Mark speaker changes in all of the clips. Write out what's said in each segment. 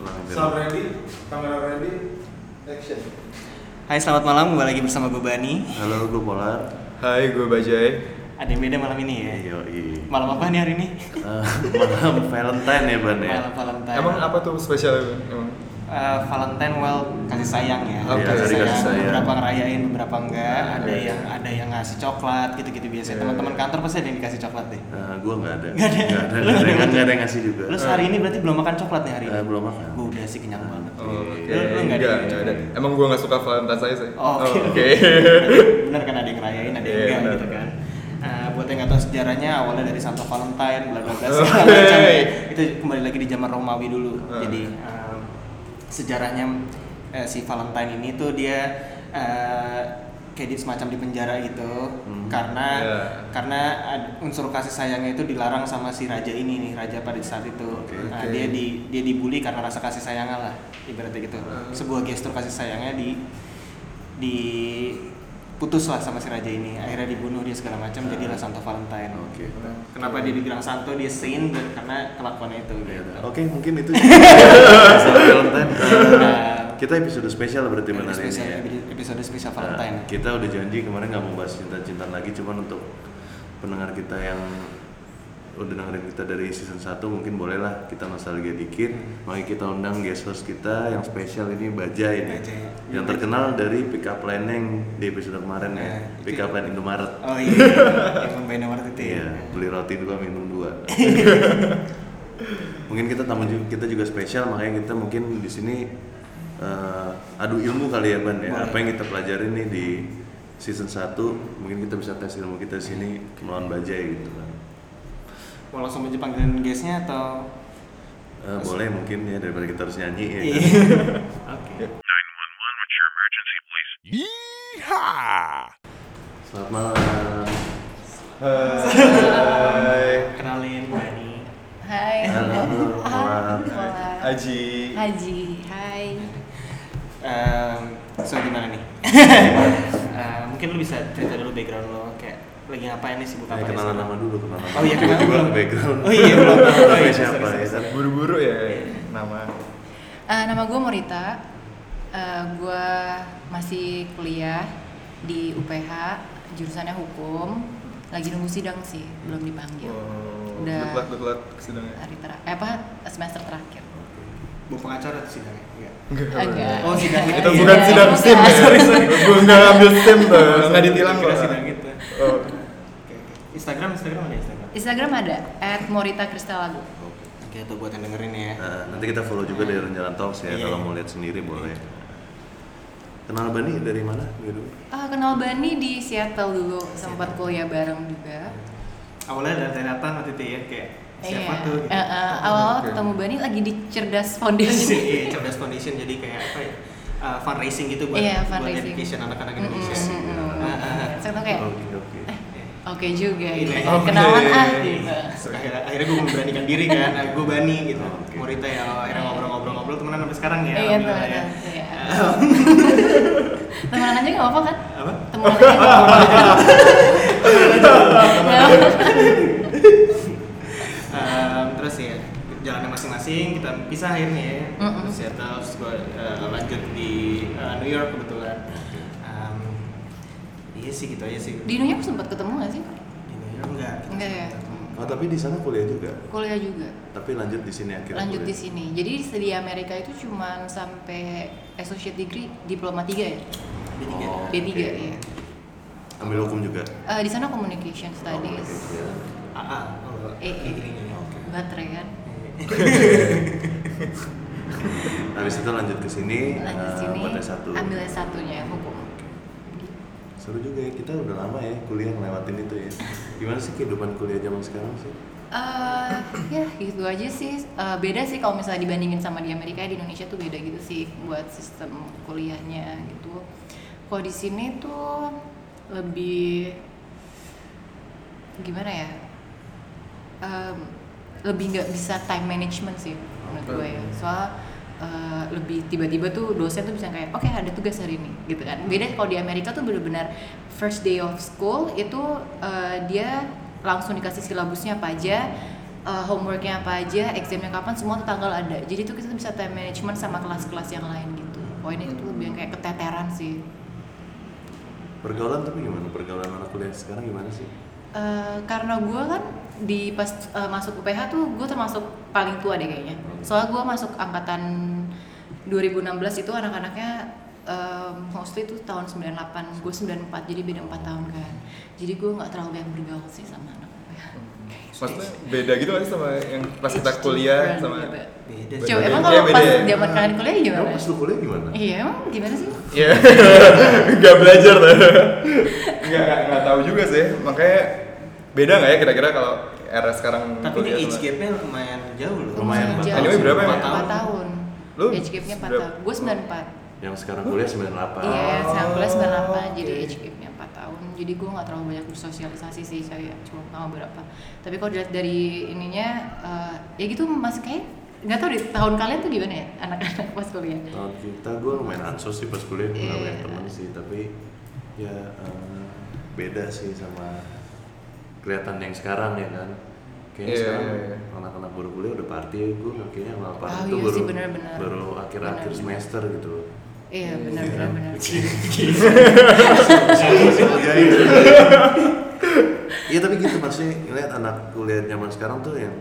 Speaker 1: ulangin dari
Speaker 2: Sound ready, kamera ready, action.
Speaker 3: Hai selamat malam, kembali lagi bersama gue Bani
Speaker 1: halo gue Polar
Speaker 4: Hai, gue Bajai.
Speaker 3: Ada yang beda malam ini
Speaker 4: Iya.
Speaker 1: Ayo,
Speaker 3: ya?
Speaker 1: i.
Speaker 3: Malam apa nih hari ini?
Speaker 1: Eh, malam Valentine ya ban ya
Speaker 3: Malam Valentine
Speaker 4: Emang apa tuh spesial emang?
Speaker 3: Eh, Valentine well kasih sayang ya
Speaker 4: Oke, hari kasih
Speaker 1: sayang.
Speaker 3: Beberapa ngerayain, beberapa enggak Ada
Speaker 4: Iya.
Speaker 3: yang ada yang ngasih coklat, gitu-gitu biasa
Speaker 4: Iya.
Speaker 3: Teman-teman kantor pasti ada yang dikasih coklat deh
Speaker 1: Eh, gue nggak ada
Speaker 3: Nggak
Speaker 1: nggak
Speaker 3: ada.
Speaker 1: ada nggak ada
Speaker 3: Lu nggak ada.
Speaker 1: nggak- nggak ada yang ngasih juga
Speaker 3: Lu sehari ini berarti belum makan coklat nih hari ini?
Speaker 1: Eh, belum makan.
Speaker 3: Gue udah sih kenyang banget
Speaker 4: Oh, oke.
Speaker 3: Lu- lu nggak ada
Speaker 4: Nggak,
Speaker 3: yang
Speaker 4: nggak
Speaker 3: ada.
Speaker 4: ada. Emang gue nggak suka Valentine saya sih.
Speaker 3: Oh, Oke.
Speaker 4: Oh,
Speaker 3: Bener kan ada yang ngerayain, ada yang
Speaker 4: Iya,
Speaker 3: enggak
Speaker 4: bener.
Speaker 3: gitu kan. Nah, buat yang nggak tahu sejarahnya awalnya dari Santo Valentine, bla bla bla
Speaker 4: Oh,
Speaker 3: segala macam.
Speaker 4: hey.
Speaker 3: Itu kembali lagi di zaman Romawi dulu.
Speaker 4: Hmm.
Speaker 3: Jadi um, sejarahnya eh, si Valentine ini tuh dia eh, kayak di semacam di penjara gitu
Speaker 1: Hmm.
Speaker 3: karena
Speaker 4: Iya.
Speaker 3: karena ad- unsur kasih sayangnya itu dilarang sama si raja ini nih raja pada saat itu
Speaker 1: Oke.
Speaker 3: Nah,
Speaker 4: Oke.
Speaker 3: dia di dia dibully karena rasa kasih sayangnya lah ibaratnya gitu
Speaker 4: Hmm.
Speaker 3: sebuah gestur kasih sayangnya di diputuslah sama si raja ini akhirnya dibunuh dia segala macam jadilah Santo Valentine
Speaker 1: oke
Speaker 3: kenapa dia dibilang santo dia saint dan karena kelakuannya itu gitu
Speaker 1: oke mungkin itu Soal Valentine Eh, kita episode spesial berarti
Speaker 3: Nah. Episode
Speaker 1: ban hari ini
Speaker 3: spesial-
Speaker 1: ya
Speaker 3: episode spesial
Speaker 1: Nah,
Speaker 3: Valentine
Speaker 1: kita udah janji kemarin nggak mau bahas cinta-cintaan lagi, cuman untuk pendengar kita yang udah dengerin kita dari season 1 mungkin bolehlah kita nostalgia dikit.
Speaker 3: Hmm.
Speaker 1: Makanya kita undang guest host kita yang spesial ini Bajai ini.
Speaker 3: Bajai.
Speaker 1: Yang terkenal dari pick up line yang di episode kemarin ya.
Speaker 3: Nah, itu-
Speaker 1: Pick up line Indomaret.
Speaker 3: oh iya yang membayar nomor itu ya
Speaker 1: Iya, beli roti dua minum dua. mungkin kita tamu ju- kita juga spesial makanya kita mungkin di sini eh, adu ilmu kali ya ban ya.
Speaker 3: Boleh.
Speaker 1: Apa yang kita pelajari nih di season 1 mungkin kita bisa tes ilmu kita di sini melawan bajai gitu kan.
Speaker 3: mau langsung aja panggilan guestnya atau
Speaker 1: Eh, boleh mungkin ya daripada kita harus nyanyi ya.
Speaker 3: Iya.
Speaker 1: kan?
Speaker 3: oke
Speaker 1: Selamat malam.
Speaker 4: Hai,
Speaker 3: kenalin Bani
Speaker 5: Hai.
Speaker 1: Halo,
Speaker 5: Ah,
Speaker 1: Pola.
Speaker 5: Pola.
Speaker 4: Aji.
Speaker 5: Haji. Hai.
Speaker 3: Em, so gimana nih Eh, mungkin lu bisa cerita dulu background lo kayak lagi ngapain nih sibuk
Speaker 1: Nah,
Speaker 3: apa
Speaker 1: kenalan
Speaker 3: sih?
Speaker 1: nama dulu kenalan.
Speaker 3: Oh iya, kenalan
Speaker 1: Tiba-tiba
Speaker 3: belum.
Speaker 1: background.
Speaker 3: Oh iya, belum. Oh iya,
Speaker 1: siapa
Speaker 3: sorry,
Speaker 1: ya? kan?
Speaker 4: Buru-buru
Speaker 3: Iya.
Speaker 4: ya nama.
Speaker 5: Eh, nama gue Morita. Eh, gue masih kuliah di UPH, jurusannya hukum. Lagi nunggu sidang sih, belum
Speaker 3: Iya.
Speaker 5: dipanggil.
Speaker 4: Oh,
Speaker 5: Udah.
Speaker 4: Good luck, good luck sidangnya.
Speaker 5: Hari terakhir, eh, apa semester terakhir?
Speaker 3: Bu pengacara atau ya? Iya. sidangnya? Enggak.
Speaker 5: Agak.
Speaker 3: Oh, sidang itu
Speaker 4: Itu
Speaker 3: Iya.
Speaker 4: bukan sidang
Speaker 5: Bukan.
Speaker 4: SIM ya.
Speaker 3: Sorry, sorry.
Speaker 4: Gue nggak ngambil SIM tuh, nggak ditilang
Speaker 3: Kira
Speaker 4: kok.
Speaker 3: sidang gitu.
Speaker 4: Oh,
Speaker 3: Oke, oke. Instagram, Instagram ada Instagram.
Speaker 5: Instagram ada, at Morita Kristalago.
Speaker 1: Oke.
Speaker 3: Oke, tuh buat yang dengerin ya.
Speaker 1: Nah, nanti kita follow juga
Speaker 5: Hmm.
Speaker 1: dari Renjalan Talks ya,
Speaker 3: Iya.
Speaker 1: kalau mau lihat sendiri boleh. Kenal Bani dari mana? Gitu.
Speaker 5: Ah, kenal Bani di Seattle dulu, sempat kuliah bareng juga.
Speaker 3: Awalnya ada ternyata waktu itu ya kayak siapa
Speaker 5: Iya.
Speaker 3: tuh gitu.
Speaker 5: Eh, eh, awal-awal
Speaker 4: Oke.
Speaker 5: ketemu Bani lagi di Cerdas
Speaker 3: Foundation.
Speaker 5: Foundation.
Speaker 3: Iya, Cerdas Foundation jadi kayak apa ya? Uh, fundraising gitu buat,
Speaker 5: Iya,
Speaker 3: buat
Speaker 5: fundraising.
Speaker 3: education anak-anak
Speaker 5: Mm,
Speaker 3: Indonesia.
Speaker 5: mm, mm, mm.
Speaker 3: Ah, ah, ah.
Speaker 5: Terus aku kayak
Speaker 1: Oke oke.
Speaker 5: oke juga gitu.
Speaker 3: Iya.
Speaker 4: Oke.
Speaker 5: Kenalan ah gitu.
Speaker 3: Iya. akhirnya, akhirnya gue memberanikan diri kan, ah, gue bani gitu.
Speaker 1: Oke.
Speaker 3: Morita ya, akhirnya ngobrol-ngobrol-ngobrol temenan sampai sekarang ya.
Speaker 5: Iya,
Speaker 3: alhamdulillah ya.
Speaker 5: temenan, iya.
Speaker 3: Ah,
Speaker 5: Temenan aja nggak apa-apa kan?
Speaker 3: Apa?
Speaker 5: Temenan aja nggak apa-apa.
Speaker 3: Em, terus ya jalannya masing-masing kita pisah akhirnya ya
Speaker 5: Mm-mm.
Speaker 3: terus ya terus gue lanjut di eh, New York kebetulan Em, iya sih gitu aja sih
Speaker 5: Di New York sempat ketemu nggak sih?
Speaker 3: Di New York enggak kita
Speaker 5: Enggak ya.
Speaker 3: sempat.
Speaker 1: Oh tapi di sana kuliah juga,
Speaker 5: Kuliah juga.
Speaker 1: tapi lanjut di sini akhirnya.
Speaker 5: Lanjut di
Speaker 1: kuliah.
Speaker 5: sini. Jadi di Amerika itu cuman sampai associate degree diploma 3 ya.
Speaker 3: Di tiga.
Speaker 1: Oh.
Speaker 5: D3
Speaker 1: Oke.
Speaker 5: ya.
Speaker 1: Ambil hukum juga. Oh,
Speaker 5: Eh, di sana communication studies.
Speaker 1: Oke, oke.
Speaker 3: AA oh, enggak.
Speaker 5: Eh, eh.
Speaker 3: Degree-nya.
Speaker 5: Baterai kan.
Speaker 3: Eh,
Speaker 1: Habis itu lanjut ke sini.
Speaker 5: Lanjut
Speaker 1: eh,
Speaker 5: sini.
Speaker 1: Buat S1.
Speaker 5: Ambil S1-nya hukum.
Speaker 1: Seru juga ya kita udah lama ya kuliah ngelewatin itu ya. Gimana sih kehidupan kuliah zaman sekarang sih?
Speaker 5: eh ya gitu aja sih Eh, beda sih kalau misalnya dibandingin sama di Amerika di Indonesia tuh beda gitu sih buat sistem kuliahnya gitu kalau di sini tuh lebih gimana ya Em, lebih nggak bisa time management sih menurut gue ya soal eh, lebih tiba-tiba tuh dosen tuh bisa kayak oke ada tugas hari ini gitu kan beda kalau di Amerika tuh bener-bener first day of school itu eh, dia langsung dikasih silabusnya apa aja uh, homeworknya apa aja, examnya kapan, semua tuh tanggal ada. Jadi tuh kita bisa time management sama kelas-kelas yang lain gitu. Poinnya itu lebih yang kayak keteteran sih.
Speaker 1: Pergaulan tapi gimana? Pergaulan anak kuliah sekarang gimana sih?
Speaker 5: Eh, karena gue kan di pas eh, masuk UPH tuh gue termasuk paling tua deh kayaknya. Soalnya gue masuk angkatan 2016 itu anak-anaknya em, mostly itu tahun 98, gue 94 jadi beda 4 tahun kan. Jadi gue nggak terlalu banyak bergaul sih sama anak UPH.
Speaker 4: Maksudnya beda gitu kan sama yang pas kita
Speaker 5: Iya,
Speaker 4: kuliah sama
Speaker 5: ya,
Speaker 3: Beda.
Speaker 4: Beda.
Speaker 5: Coba emang
Speaker 4: Iya,
Speaker 5: kalau
Speaker 4: beda
Speaker 5: pas
Speaker 4: ya.
Speaker 5: zaman kalian kuliah
Speaker 1: Kamu
Speaker 5: gimana?
Speaker 1: pas lu kuliah gimana?
Speaker 5: Iya emang gimana sih?
Speaker 4: Iya. Gak belajar tuh. Enggak enggak enggak tahu juga sih. Makanya beda nggak ya kira-kira kalau era sekarang
Speaker 3: Tapi ini
Speaker 4: kuliah
Speaker 3: age
Speaker 4: sama-
Speaker 3: gapnya lumayan jauh loh.
Speaker 1: Lumayan empat
Speaker 5: Lumayan jauh.
Speaker 1: tahun.
Speaker 4: Anyway, berapa
Speaker 5: Empat
Speaker 4: emang?
Speaker 5: tahun. tahun.
Speaker 4: Lu
Speaker 5: Age gap-nya 4
Speaker 4: berapa?
Speaker 5: tahun. Gue 94.
Speaker 1: Yang sekarang kuliah 98
Speaker 5: Iya, sekarang kuliah 98, jadi
Speaker 4: oke.
Speaker 5: age gap-nya 4 tahun. Jadi gue nggak terlalu banyak bersosialisasi sih, saya cuma sama berapa. Tapi kalau dilihat dari ininya, eh, ya gitu masih kayak nggak tahu di tahun kalian tuh gimana ya anak-anak pas kuliah.
Speaker 1: Tahun kita gue lumayan ansos sih pas kuliah nggak
Speaker 5: Iya.
Speaker 1: banyak teman sih tapi ya eh, beda sih sama kelihatan yang sekarang ya kan kayaknya
Speaker 4: Iya,
Speaker 1: sekarang
Speaker 4: iya, iya.
Speaker 1: anak-anak baru kuliah udah party gue kayaknya malah party
Speaker 5: Oh,
Speaker 1: tuh
Speaker 5: iya
Speaker 1: baru
Speaker 5: sih, benar-benar.
Speaker 1: baru akhir-akhir
Speaker 5: Benar-benar.
Speaker 1: semester gitu loh
Speaker 5: Iya, benar
Speaker 1: Iya
Speaker 5: benar
Speaker 1: kan?
Speaker 5: benar.
Speaker 1: Iya, iya. Iya tapi gitu maksudnya ngeliat anak kuliah zaman sekarang tuh yang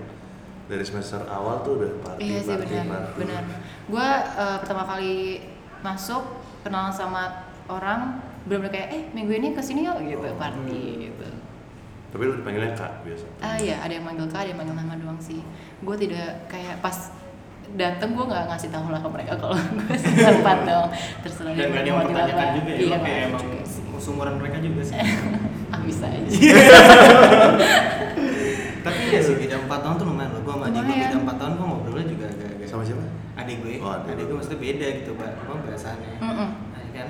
Speaker 1: dari semester awal tuh udah party
Speaker 5: Iya sih
Speaker 1: party
Speaker 5: benar,
Speaker 1: party.
Speaker 5: benar. Gue pertama kali masuk kenalan sama orang belum kayak eh minggu ini kesini yuk gitu
Speaker 1: Oh.
Speaker 5: party gitu.
Speaker 1: Tapi lu dipanggilnya kak biasa.
Speaker 5: Ah iya ada yang manggil kak, ada yang manggil nama doang sih. Gue tidak kayak pas dateng gue nggak ngasih tahu lah ke mereka kalau gue sempat dong terserah
Speaker 3: Dan
Speaker 5: dia
Speaker 3: gak ada yang
Speaker 5: mau manggil
Speaker 3: mempertanyakan
Speaker 5: apa.
Speaker 3: juga ya,
Speaker 5: iya,
Speaker 3: kayak emang Iya.
Speaker 5: juga sih.
Speaker 3: sumuran mereka juga sih.
Speaker 5: ah bisa aja
Speaker 3: Tapi ya sih beda 4 tahun tuh lumayan loh. Gua sama adik gue
Speaker 5: Lumayan.
Speaker 3: beda 4 tahun gua ngobrolnya juga agak-agak
Speaker 1: Sama siapa?
Speaker 3: Adik gue.
Speaker 1: Oh, adik.
Speaker 3: adik gue maksudnya beda gitu, Pak. Apa bahasannya?
Speaker 5: Mm-mm.
Speaker 3: Nah, kan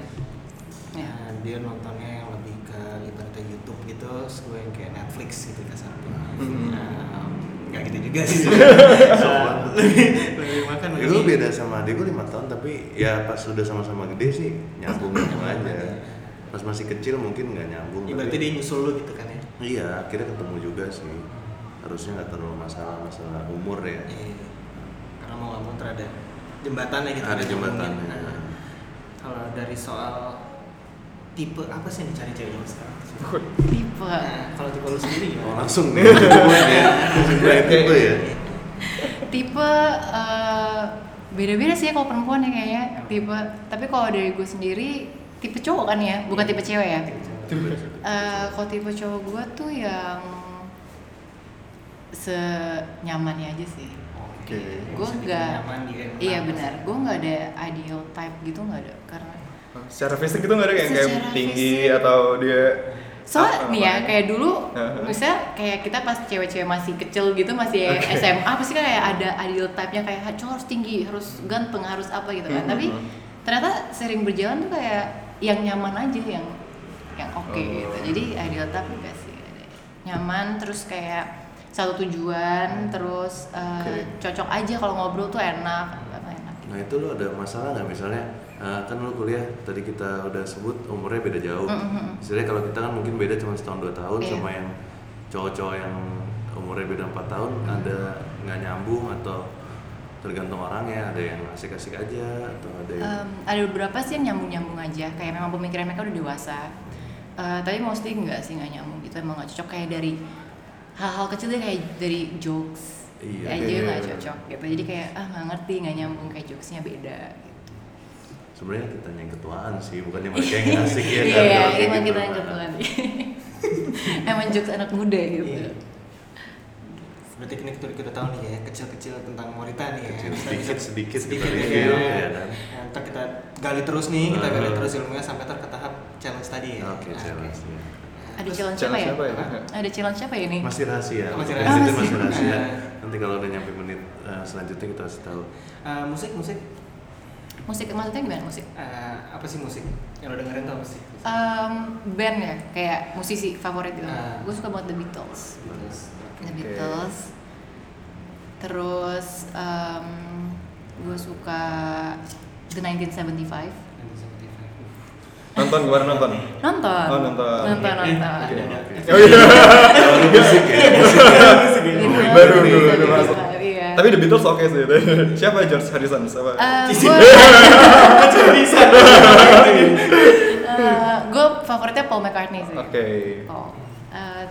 Speaker 5: Ya.
Speaker 3: Nah, dia nontonnya yang lebih ke ibaratnya YouTube gitu, terus gue yang kayak Netflix gitu kasarnya.
Speaker 4: Mm-mm.
Speaker 3: Nah, nggak gitu juga sih. Nah, lebih lebih makan
Speaker 1: Ya, gue beda sama adik gue lima tahun tapi ya pas udah sama-sama gede sih nyambung nyambung aja. Pas masih kecil mungkin nggak nyambung. tapi-
Speaker 3: Ibaratnya dia nyusul lu gitu kan ya.
Speaker 1: Iya akhirnya ketemu juga sih. Harusnya nggak terlalu masalah masalah umur ya.
Speaker 3: Iya. Karena mau nggak mau terada jembatannya gitu.
Speaker 1: Ada iya. jembatannya.
Speaker 3: Nah, kalau dari soal tipe apa sih yang dicari cewek zaman sekarang?
Speaker 5: tipe
Speaker 3: Nah, kalau tipe lu sendiri
Speaker 1: Oh
Speaker 3: gimana?
Speaker 1: langsung nih. ya. Langsung berarti itu ya.
Speaker 5: tipe eh, beda-beda sih ya kalau perempuan ya kayaknya
Speaker 3: Iya.
Speaker 5: tipe tapi kalau dari gue sendiri tipe cowok kan ya bukan
Speaker 3: Iya.
Speaker 5: tipe cewek ya Eh, kalau tipe cowok gue tuh yang senyamannya aja sih
Speaker 4: Oke.
Speaker 5: gue
Speaker 3: Bisa dibikin
Speaker 5: nggak
Speaker 3: nyaman, dia yang
Speaker 5: iya
Speaker 3: nyaman.
Speaker 5: benar gue nggak ada ideal type gitu nggak ada karena
Speaker 4: Secara fisik itu nggak ada yang kayak
Speaker 5: Secara
Speaker 4: tinggi
Speaker 5: fisik.
Speaker 4: atau dia
Speaker 5: soalnya
Speaker 4: apa-
Speaker 5: nih ya
Speaker 4: apa-
Speaker 5: kayak dulu
Speaker 4: Heeh.
Speaker 5: misalnya kayak kita pas cewek-cewek masih kecil gitu masih
Speaker 4: Oke.
Speaker 5: SMA pasti kan kayak ada ideal type-nya kayak "Ah, cowok harus tinggi harus ganteng harus apa gitu kan
Speaker 4: Mhm.
Speaker 5: tapi ternyata sering berjalan tuh kayak yang nyaman aja yang yang oke
Speaker 4: Oh.
Speaker 5: gitu jadi ideal type enggak sih nyaman terus kayak satu tujuan terus eh,
Speaker 4: Hmm. Oke.
Speaker 5: cocok aja kalau ngobrol tuh enak apa enak gitu.
Speaker 1: Nah itu lo ada masalah nggak misalnya eh, kan lo kuliah tadi kita udah sebut umurnya beda jauh.
Speaker 5: Mm-mm.
Speaker 1: Misalnya kalau kita kan mungkin beda cuma setahun dua tahun
Speaker 5: Mm, Iya.
Speaker 1: sama yang cowok-cowok yang umurnya beda empat tahun
Speaker 5: Mm.
Speaker 1: ada nggak nyambung atau tergantung orangnya ada yang asik-asik aja atau ada yang
Speaker 5: Em, ada beberapa sih yang nyambung-nyambung aja kayak memang pemikiran mereka udah dewasa Eh, tapi mostly enggak sih nggak nyambung gitu emang nggak cocok kayak dari hal-hal kecil deh kayak dari jokes
Speaker 1: Iya.
Speaker 5: aja
Speaker 1: Iya.
Speaker 5: nggak cocok gitu jadi kayak ah nggak ngerti nggak nyambung kayak jokesnya beda gitu
Speaker 1: sebenarnya kita yang ketuaan sih bukannya mereka yang asik ya
Speaker 5: iya
Speaker 1: kan,
Speaker 5: iya
Speaker 1: kalau kayak
Speaker 5: emang
Speaker 1: gitu.
Speaker 5: kita yang kebetulan emang jokes anak muda gitu
Speaker 3: Iya. Berarti ini kita kita tahu nih ya kecil-kecil tentang wanita nih ya.
Speaker 1: Kecil,
Speaker 3: Kita
Speaker 1: sedikit,
Speaker 3: bisa-
Speaker 1: sedikit
Speaker 3: sedikit
Speaker 1: kita
Speaker 3: ya.
Speaker 1: review,
Speaker 3: kan?
Speaker 1: ya kan?
Speaker 3: Nah, ntar kita gali terus nih, kita gali
Speaker 1: Uh-huh.
Speaker 3: terus ilmunya sampai ntar ke tahap challenge tadi ya.
Speaker 1: oke
Speaker 3: Nah,
Speaker 1: jelas ya.
Speaker 5: ada
Speaker 3: Terus
Speaker 5: challenge apa
Speaker 4: challenge
Speaker 5: ya?
Speaker 4: apa ya?
Speaker 5: ada challenge apa ya ini
Speaker 1: masih rahasia
Speaker 3: Masih
Speaker 1: Pokoknya itu
Speaker 5: rahasia.
Speaker 1: masih rahasia
Speaker 3: Nah.
Speaker 1: nanti kalau udah nyampe menit eh, selanjutnya kita kasih tahu
Speaker 3: eh, musik musik
Speaker 5: musik maksudnya gimana musik
Speaker 3: eh, apa sih musik yang lo dengerin tuh apa sih?
Speaker 5: Em, band ya kayak musisi favorit gitu
Speaker 3: Ah.
Speaker 5: gue suka banget The Beatles
Speaker 3: Terus,
Speaker 5: The
Speaker 4: Oke.
Speaker 5: Beatles. Terus gue suka The 1975.
Speaker 3: nanti sama Tifa.
Speaker 4: nonton kemarin nonton.
Speaker 5: Nonton.
Speaker 4: Oh, nonton.
Speaker 5: Nonton,
Speaker 3: Eh,
Speaker 5: nonton.
Speaker 3: ada- ada.
Speaker 1: Oke.
Speaker 4: Oh iya.
Speaker 1: Kalau musik ya musik ya
Speaker 5: Gitu.
Speaker 4: baru
Speaker 5: gitu,
Speaker 4: dulu,
Speaker 5: gitu,
Speaker 4: baru masuk.
Speaker 5: gitu, Iya.
Speaker 4: Tapi The Beatles oke sih. Siapa George Harrison? Siapa?
Speaker 3: Eh,
Speaker 5: gue Eh, favoritnya Paul McCartney sih.
Speaker 4: Oke.
Speaker 5: Paul. Eh,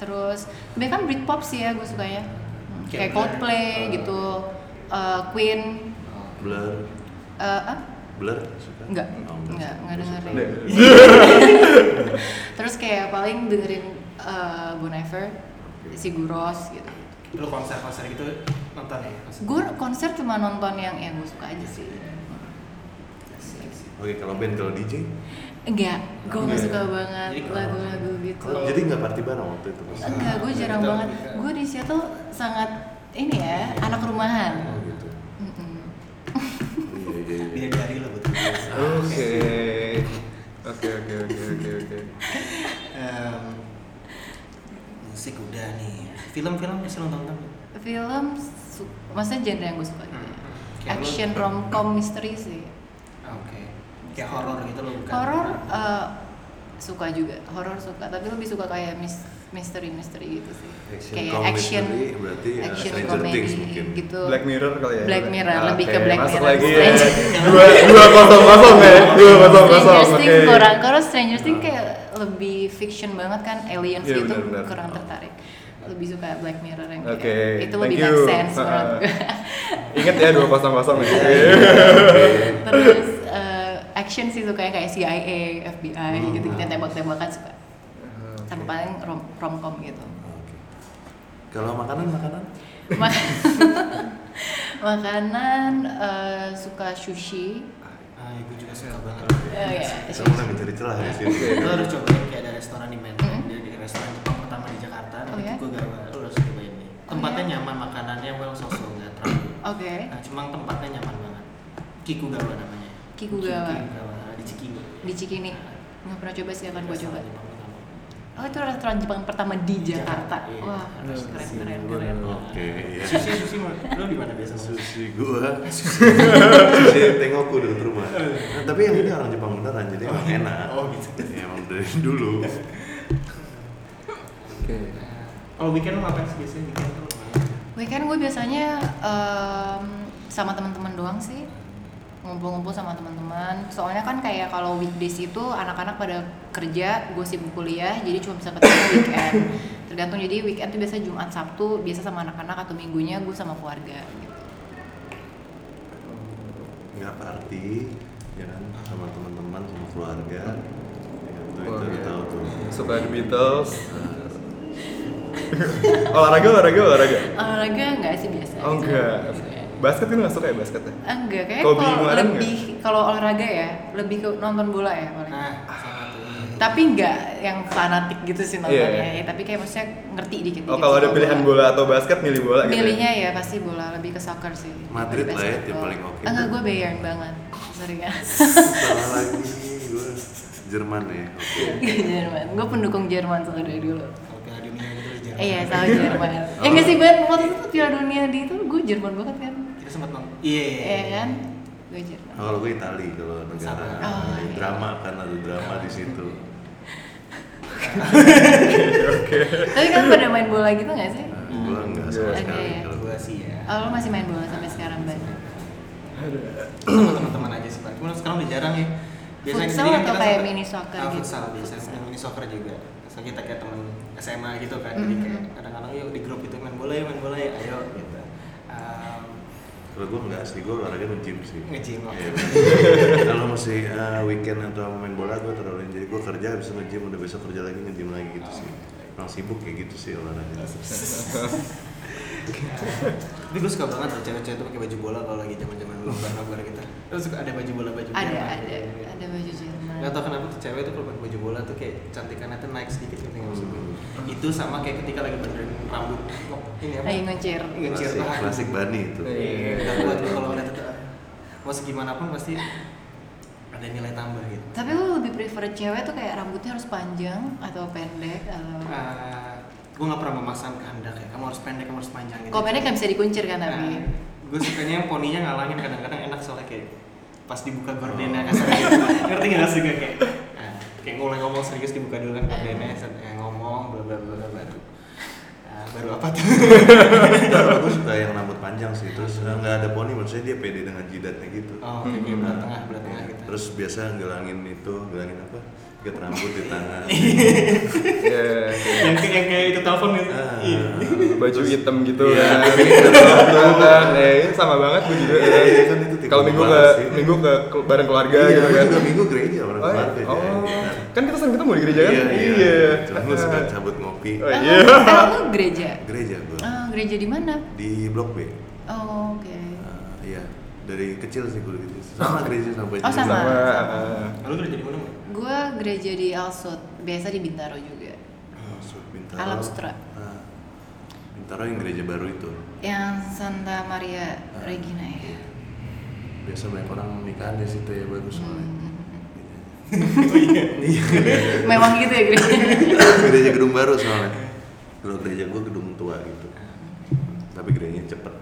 Speaker 5: terus kebanyakan Britpop sih ya gue sukanya. Hmm,
Speaker 3: Kayak
Speaker 5: Kayak Coldplay
Speaker 4: Blur.
Speaker 5: gitu, Eh, Queen,
Speaker 1: Blur,
Speaker 5: eh, ah,
Speaker 1: Blur suka?
Speaker 5: enggak,
Speaker 1: Oh,
Speaker 5: enggak, enggak
Speaker 1: Nggak
Speaker 5: dengerin.
Speaker 1: suka.
Speaker 5: Terus kayak paling dengerin eh, Bon Iver, si Guros gitu.
Speaker 3: Lu konser-konser gitu nonton ya? Konser.
Speaker 5: Gue konser cuma nonton yang yang gue suka aja sih.
Speaker 1: Oke, kalau band kalau DJ?
Speaker 5: Enggak, gue nggak
Speaker 4: Iya.
Speaker 5: suka banget
Speaker 3: Jadi kalau-
Speaker 5: lagu-lagu gitu.
Speaker 1: Kalau- Jadi nggak party bareng waktu itu? Mas?
Speaker 5: Enggak, gue jarang
Speaker 2: Kita-
Speaker 5: banget.
Speaker 2: kita-
Speaker 5: Gue di Seattle sangat ini ya, anak rumahan.
Speaker 1: Oh gitu.
Speaker 5: Mm-mm.
Speaker 1: Iya, iya, iya.
Speaker 3: Dia dari lo betul.
Speaker 4: Oke. Oke oke oke oke oke.
Speaker 3: Em, musik udah nih. Film-film masih lo nonton? Hmm.
Speaker 5: Film, su- maksudnya genre yang gue suka gitu ya.
Speaker 3: Kayak lo-
Speaker 5: Action, romcom, misteri sih.
Speaker 3: Ah, Oke. Kayak horor gitu lo bukan?
Speaker 5: Horor eh, suka juga, horor suka. Tapi lebih suka kayak mis- misteri-misteri gitu sih.
Speaker 1: Action,
Speaker 5: kayak
Speaker 1: comedy,
Speaker 5: action,
Speaker 1: berarti ya
Speaker 5: action
Speaker 1: Stranger
Speaker 5: comedy
Speaker 1: Things mungkin.
Speaker 5: gitu.
Speaker 4: Black Mirror kali ya.
Speaker 5: Black Mirror,
Speaker 4: Oke,
Speaker 5: lebih ke Black
Speaker 4: masuk
Speaker 5: Mirror.
Speaker 4: lagi ya.
Speaker 3: Stranger-
Speaker 4: Dua dua kosong kosong ya. Dua kosong kosong.
Speaker 5: Iya, Stranger
Speaker 4: Oke.
Speaker 5: Things kurang, karena Stranger Things kayak lebih fiction banget kan, aliens
Speaker 4: Iya,
Speaker 5: gitu
Speaker 4: benar-benar.
Speaker 5: kurang tertarik. Lebih suka Black Mirror yang kayak
Speaker 4: Oke.
Speaker 5: itu
Speaker 4: Thank
Speaker 5: lebih
Speaker 4: you.
Speaker 5: make sense menurut gue.
Speaker 4: Ingat ya dua kosong kosong ya.
Speaker 5: Iya. Terus eh, action sih suka yang kayak CIA, FBI
Speaker 1: Hmm.
Speaker 5: gitu gitu tembak-tembakan suka. Tapi paling rom romcom gitu.
Speaker 1: Oke. Kalau makanan makanan?
Speaker 5: Mak- Makanan eh, suka sushi.
Speaker 3: Ah, gue juga suka banget.
Speaker 5: Eh, ya,
Speaker 3: iya.
Speaker 1: Kita
Speaker 5: sushi.
Speaker 1: mulai mencari celah di sini.
Speaker 3: Lo harus cobain kayak ada restoran di Menteng,
Speaker 5: Mm-mm.
Speaker 3: dia di restoran Jepang pertama di Jakarta.
Speaker 5: Mm-hmm. Oh,
Speaker 3: itu
Speaker 5: ya?
Speaker 3: gue gak lo harus cobain nih. Tempatnya
Speaker 5: ya?
Speaker 3: nyaman, makanannya well sosok nggak terlalu.
Speaker 5: Oke.
Speaker 3: Nah, cuma tempatnya nyaman banget. Kikugawa namanya.
Speaker 5: Kikugawa.
Speaker 3: Kikugawa di Cikini. Nah,
Speaker 5: Di Cikini. Iya, Nggak pernah coba sih akan gue
Speaker 3: Restoran
Speaker 5: coba.
Speaker 3: Jepang pertama.
Speaker 5: Oh itu restoran Jepang pertama di Jakarta.
Speaker 3: Jakarta, iya.
Speaker 5: Wah
Speaker 3: Aduh,
Speaker 5: keren
Speaker 3: sini
Speaker 5: keren
Speaker 3: gua
Speaker 5: keren.
Speaker 3: nemu.
Speaker 1: Oke, iya.
Speaker 3: Sushi, sushi, mah. lo di mana biasa? Mas?
Speaker 1: Sushi gua. Sushi tengoku dekat rumah. Nah, tapi yang ini orang Jepang beneran jadi emang enak.
Speaker 3: Oh, gitu.
Speaker 1: Ya, emang dari dulu.
Speaker 4: Oke.
Speaker 3: Kalau Oh, weekend lo ngapain sih biasanya weekend tuh?
Speaker 5: Weekend gue biasanya em, sama teman-teman doang sih ngumpul-ngumpul sama teman-teman. Soalnya kan kayak kalau weekdays itu anak-anak pada kerja, gue sibuk kuliah, jadi cuma bisa ketemu weekend. Tergantung jadi weekend tuh biasa Jumat Sabtu biasa sama anak-anak atau minggunya gue sama keluarga. Gitu.
Speaker 1: Nggak party, ya kan sama teman-teman, sama keluarga. Ya, itu itu udah tahu tuh.
Speaker 4: Suka The Beatles. olahraga olahraga olahraga.
Speaker 5: Olahraga enggak sih biasa?
Speaker 4: Oh
Speaker 5: gitu.
Speaker 4: enggak. Basket kan nggak suka ya basket ya?
Speaker 5: Enggak, kayaknya
Speaker 4: Hobi
Speaker 5: kalau
Speaker 4: olahraga
Speaker 5: lebih kalau olahraga ya, lebih ke nonton bola ya paling.
Speaker 4: Ah.
Speaker 3: Nah, sama tuh.
Speaker 5: tapi nggak yang fanatik gitu sih nontonnya
Speaker 4: Iya, iya.
Speaker 5: ya tapi kayak maksudnya ngerti dikit
Speaker 4: Oh kalau ada pilihan bola atau basket milih bola gitu. ya?
Speaker 5: milihnya ya pasti bola lebih ke soccer sih
Speaker 1: Madrid lah
Speaker 5: daripada
Speaker 1: ya,
Speaker 5: basketball.
Speaker 1: tim paling oke.
Speaker 5: enggak gue Bayern banget seringan
Speaker 1: Salah lagi gua Jerman ya. Oke.
Speaker 5: Jerman gue pendukung Jerman soalnya dari dulu
Speaker 3: Kalau Piala Dunia gitu lo jarang.
Speaker 5: iya tahu Jerman
Speaker 1: Oh.
Speaker 5: ya nggak sih banget waktu itu Piala Dunia di itu gue Jerman banget kan
Speaker 3: Kita sempat nonton. Iya.
Speaker 5: iya kan gue Jerman
Speaker 1: Nah, kalau gue Itali kalau negara
Speaker 3: Sama.
Speaker 5: Oh, iya.
Speaker 1: drama kan ada drama di situ.
Speaker 5: tapi kan pada main bola gitu nggak sih
Speaker 1: Nah,
Speaker 3: Hmm.
Speaker 1: Gue enggak sama
Speaker 4: Iya.
Speaker 1: sekali
Speaker 5: Oke.
Speaker 1: kalau gue.
Speaker 3: Gue sih ya.
Speaker 5: oh, lo masih main bola sampai sekarang ban
Speaker 3: sama teman-teman aja sih pak. Cuma sekarang udah jarang ya.
Speaker 5: Futsal
Speaker 3: sendiri kan
Speaker 5: atau kayak
Speaker 3: suka-
Speaker 5: mini soccer
Speaker 3: Ah,
Speaker 5: gitu?
Speaker 3: Futsal biasanya
Speaker 5: Futsal.
Speaker 3: mini soccer juga. So kita kayak temen SMA gitu kan. Jadi
Speaker 5: Mhm.
Speaker 3: kayak kadang-kadang yuk di grup itu main bola ya main bola ya ayo gitu. Um,
Speaker 1: Kalau gue enggak sih, gue olahraga nge-gym sih.
Speaker 3: Nge-gym, oke.
Speaker 1: Iya, kalau masih eh, weekend atau main bola gue terlalu jadi gue kerja habis itu nge-gym udah besok kerja lagi nge-gym lagi gitu sih. Emang sibuk kayak gitu sih olahraga.
Speaker 3: tapi gue suka banget loh cewek-cewek tuh pakai baju bola kalau lagi zaman-zaman lomba-lomba kita. Terus suka ada baju bola baju gitu.
Speaker 5: ada
Speaker 1: Iya.
Speaker 3: bola.
Speaker 5: ada ada baju Jerman
Speaker 3: Gak tau kenapa tuh cewek tuh kalau pakai baju bola tuh kayak cantikannya tuh naik sedikit gitu nggak maksud gue.
Speaker 1: Hmm.
Speaker 3: Itu sama kayak ketika lagi benerin rambut ini apa?
Speaker 5: lagi ngecer
Speaker 3: Ngecer
Speaker 1: Klasik,
Speaker 3: tahan.
Speaker 1: klasik bani itu.
Speaker 4: Iya.
Speaker 3: Iya, buat gue kalau lihat itu, ah, mau segimana pun pasti ada nilai tambah gitu.
Speaker 5: Tapi lo lebih prefer cewek tuh kayak rambutnya harus panjang atau pendek atau
Speaker 3: Eh, gue nggak pernah memaksakan kehendak ya. Kamu harus pendek, kamu harus panjang gitu.
Speaker 5: kalau pendek kan bisa dikuncir kan tapi.
Speaker 1: Ah.
Speaker 3: gue Nah, sukanya yang poninya ngalangin kadang-kadang enak soalnya kayak pas dibuka
Speaker 1: Oh.
Speaker 3: gordennya kasar gitu. Ngerti nggak sih gue kayak? ah, ya, kayak mulai ngomong serius dibuka dulu kan gordennya, set- eh, ngomong bla bla bla bla baru. Ah, baru apa tuh?
Speaker 1: aku suka yang rambut panjang sih terus eh, nggak ada poni maksudnya dia pede dengan jidatnya gitu
Speaker 3: Oh, oke, oke, belah tengah, belah tengah
Speaker 1: Iya.
Speaker 3: gitu.
Speaker 1: terus biasa gelangin itu gelangin apa ikat rambut di tangan
Speaker 4: Iya.
Speaker 3: yang, yang kayak itu telepon gitu.
Speaker 1: Ah.
Speaker 3: Iya.
Speaker 4: baju hitam gitu
Speaker 1: Iya.
Speaker 4: ya. Nah, ya, ini sama banget gue juga.
Speaker 1: Iya, iya, kan itu tipe
Speaker 4: Kalau minggu ke
Speaker 1: banget sih.
Speaker 4: minggu ke ke- bareng keluarga
Speaker 1: iya
Speaker 4: gitu
Speaker 1: gue
Speaker 4: kan.
Speaker 1: juga minggu gereja orang
Speaker 4: Oh, iya.
Speaker 1: keluarga
Speaker 4: Oh.
Speaker 1: jadi. Nah,
Speaker 4: kan kita sering ketemu di gereja kan?
Speaker 1: iya iya cuma gue suka cabut ngopi
Speaker 4: Oh,
Speaker 5: Eh,
Speaker 4: iya.
Speaker 5: eh, lu gereja?
Speaker 1: gereja gue
Speaker 5: Ah, gereja di mana?
Speaker 1: di blok B
Speaker 5: Oh, oke.
Speaker 1: Ah, iya dari kecil sih gue gitu sama gereja sampai
Speaker 5: Oh, sama.
Speaker 4: Sama. ah,
Speaker 3: Lalu udah jadi mana? Mbak?
Speaker 5: Gua gereja di Alsut, biasa di Bintaro juga.
Speaker 1: Maksud Ah, Bintaro
Speaker 5: Alam Sutra.
Speaker 1: Ah, Bintaro yang gereja baru itu Ah. Iya.
Speaker 5: Yang Santa Maria Regina ya.
Speaker 1: biasa banyak orang nikahan di situ ya bagus soalnya
Speaker 5: Hmm.
Speaker 1: Iya.
Speaker 5: Memang gitu ya gerejanya.
Speaker 1: gereja gedung baru soalnya kalau gereja gue gedung tua gitu tapi gerejanya cepet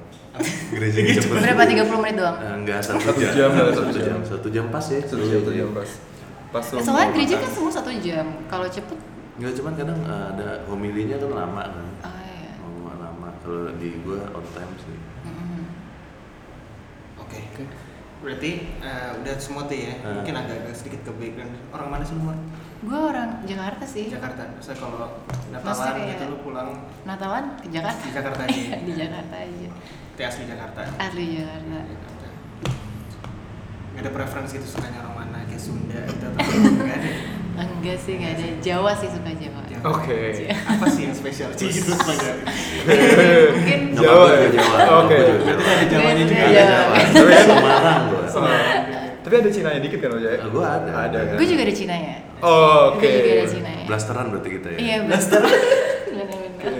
Speaker 1: gerejanya cepet
Speaker 5: Berapa 30 menit doang?
Speaker 1: Eh, enggak satu,
Speaker 4: Satu
Speaker 1: jam,
Speaker 4: jam,
Speaker 1: satu,
Speaker 4: satu
Speaker 1: jam.
Speaker 4: jam.
Speaker 1: satu jam pas ya
Speaker 4: Satu jam, satu jam pas. Pas
Speaker 5: Eh,
Speaker 4: lu
Speaker 5: Soalnya
Speaker 4: mau
Speaker 5: gereja
Speaker 4: makan.
Speaker 5: kan semua satu jam. Kalau cepet,
Speaker 1: Enggak cuman kadang eh, ada homilinya kan lama kan
Speaker 5: ah ya.
Speaker 1: lama lama kalau di gue on time sih
Speaker 5: Mm-mm.
Speaker 3: Oke. Berarti eh, udah semua tuh ya.
Speaker 1: Ah.
Speaker 3: Mungkin agak-agak sedikit ke background. Orang mana sih lu? Mar?
Speaker 5: Gua orang Jakarta sih.
Speaker 3: Jakarta. Terus kalau
Speaker 5: Maksudnya
Speaker 3: Natalan
Speaker 5: kayak-
Speaker 3: gitu lu pulang
Speaker 5: Natalan ke Jakarta.
Speaker 3: Di Jakarta aja. ya.
Speaker 5: Iya, ya. di Jakarta aja.
Speaker 3: ke asli Jakarta.
Speaker 5: Asli Jakarta.
Speaker 3: Jakarta. Gak ada preferensi gitu sukanya orang mana kayak Sunda gitu atau gak ada.
Speaker 5: Enggak sih, enggak ada. Jawa sih suka Jawa.
Speaker 3: Jawa.
Speaker 4: Oke.
Speaker 3: Apa sih yang spesial sih gitu sebenarnya?
Speaker 5: Mungkin
Speaker 1: Nyokap
Speaker 4: Jawa
Speaker 1: gua juga
Speaker 4: ya?
Speaker 1: Jawa
Speaker 4: Oke.
Speaker 1: nyokap gua juga
Speaker 3: Ada Jawanya juga.
Speaker 1: Jawa
Speaker 5: Iya.
Speaker 1: Ada Jawa
Speaker 4: Tapi kan-
Speaker 1: Semarang gue
Speaker 4: Sama. Tapi ada Cina dikit kan Ojek?
Speaker 1: Ah, gua ada.
Speaker 4: Ada kan?
Speaker 5: gue juga ada Cina ya.
Speaker 4: Oh, Oke.
Speaker 5: Gue juga ada Cina ya.
Speaker 1: blasteran berarti kita ya
Speaker 5: Iya, blaster. Benar-benar.
Speaker 4: Oke.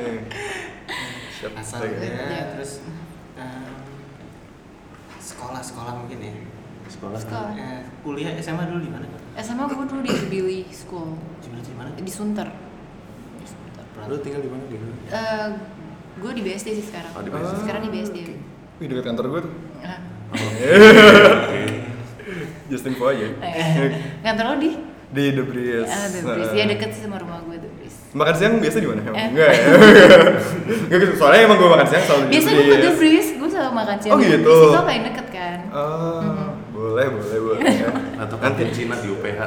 Speaker 4: Siap.
Speaker 3: Asalnya
Speaker 5: Iya.
Speaker 3: ya, terus eh, sekolah-sekolah mungkin ya.
Speaker 1: sekolah
Speaker 5: Sekolah.
Speaker 3: Eh, kuliah SMA dulu di mana?
Speaker 5: SMA gue dulu di Billy School
Speaker 3: Gimana di mana?
Speaker 5: di Sunter. Di Sunter.
Speaker 1: lu tinggal di mana di mana
Speaker 5: Eh, gue di BSD sih sekarang.
Speaker 1: Oh, di BSD.
Speaker 5: Sekarang di BSD.
Speaker 4: Wih dekat kantor gue tuh.
Speaker 5: Ah.
Speaker 4: Justin Po aja.
Speaker 5: Eh, Kantor lo di?
Speaker 4: Di The Breeze.
Speaker 5: Ah,
Speaker 1: eh.
Speaker 5: The Breeze. Ya deket sih sama rumah gue The Breeze.
Speaker 4: Makan siang biasa di mana?
Speaker 5: Eh.
Speaker 4: Emang? Enggak ya. Enggak gitu. Soalnya emang gue makan siang selalu di
Speaker 5: Biasa gue ke The Breeze, gue selalu makan siang.
Speaker 4: Oh,
Speaker 5: di The
Speaker 4: gitu.
Speaker 5: Breeze. Itu paling deket kan.
Speaker 4: Oh,
Speaker 5: Mhm.
Speaker 4: boleh, boleh, boleh.
Speaker 1: atau
Speaker 4: Nanti.
Speaker 1: kantin Cina di UPH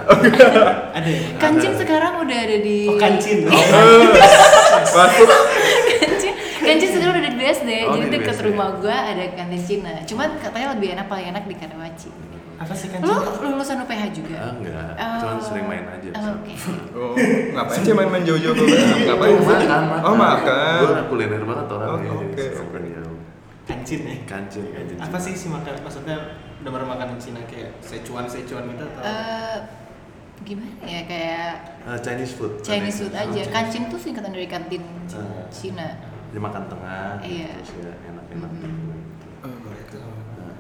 Speaker 3: Ada ya?
Speaker 4: Kan
Speaker 5: Kancin sekarang udah ada Kan di
Speaker 3: Oh, kancin.
Speaker 4: Masuk.
Speaker 5: Kancin, kancin sekarang udah di BSD,
Speaker 1: Oh,
Speaker 5: jadi
Speaker 1: di
Speaker 5: deket
Speaker 1: BSD.
Speaker 5: rumah gue ada kantin Cina. Cuman katanya lebih enak paling enak di Karawaci.
Speaker 3: Apa sih kancin?
Speaker 5: Lo lulusan UPH juga?
Speaker 1: Ah, enggak
Speaker 5: Oh.
Speaker 1: cuman sering main aja
Speaker 5: Oh, Oke.
Speaker 4: Oh, ngapain sih main-main jauh-jauh ke Batam? Ngapain? Oh, makan.
Speaker 1: gue kuliner banget
Speaker 4: Oh,
Speaker 1: orangnya jadi
Speaker 4: oke.
Speaker 1: suka jauh.
Speaker 3: Kancin ya.
Speaker 1: kancil kancil
Speaker 3: Apa sih si makan? Maksudnya udah pernah makan Cina kayak secuan secuan gitu atau?
Speaker 5: Eh, gimana ya kayak
Speaker 1: Ah, Chinese food
Speaker 5: Chinese food aja. kan?
Speaker 3: Chinese.
Speaker 5: Kancin tuh singkatan dari kantin
Speaker 1: Ah.
Speaker 5: Cina.
Speaker 1: dia makan tengah
Speaker 5: Iya.
Speaker 1: terus ya enak-enak
Speaker 5: Mhm.
Speaker 1: gitu. Nah,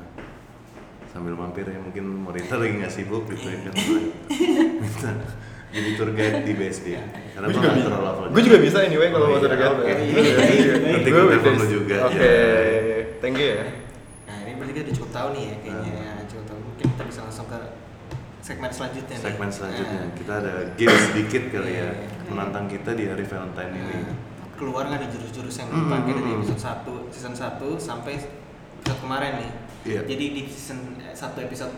Speaker 1: sambil mampir ya mungkin Morita lagi nggak sibuk gitu ya kan minta jadi tour guide di BSD
Speaker 5: Iya.
Speaker 1: karena gue
Speaker 4: Gue juga,
Speaker 1: nggak
Speaker 4: bi-
Speaker 1: terlalu apa
Speaker 4: gua juga bisa anyway kalau
Speaker 1: Oh,
Speaker 4: mau
Speaker 1: iya,
Speaker 4: terdekat.
Speaker 1: oke.
Speaker 3: Nanti
Speaker 4: iya. Gua
Speaker 1: gua
Speaker 4: weekdays.
Speaker 1: telepon lu juga,
Speaker 4: Oke, iya,
Speaker 1: ya.
Speaker 4: thank you ya.
Speaker 3: Nah ini berarti kita udah cukup tahu nih ya kayaknya cukup tahu. Mungkin kita bisa langsung ke segmen selanjutnya. nih.
Speaker 1: segmen selanjutnya
Speaker 3: Nah,
Speaker 1: kita ada game sedikit kali ya
Speaker 3: Iya.
Speaker 1: menantang kita di hari Valentine ini
Speaker 3: nah, keluar nggak nih jurus-jurus yang dipakai dari
Speaker 1: Hmm.
Speaker 3: episode 1 season 1 sampai episode kemarin nih.
Speaker 1: Iya.
Speaker 3: Jadi di season 1 episode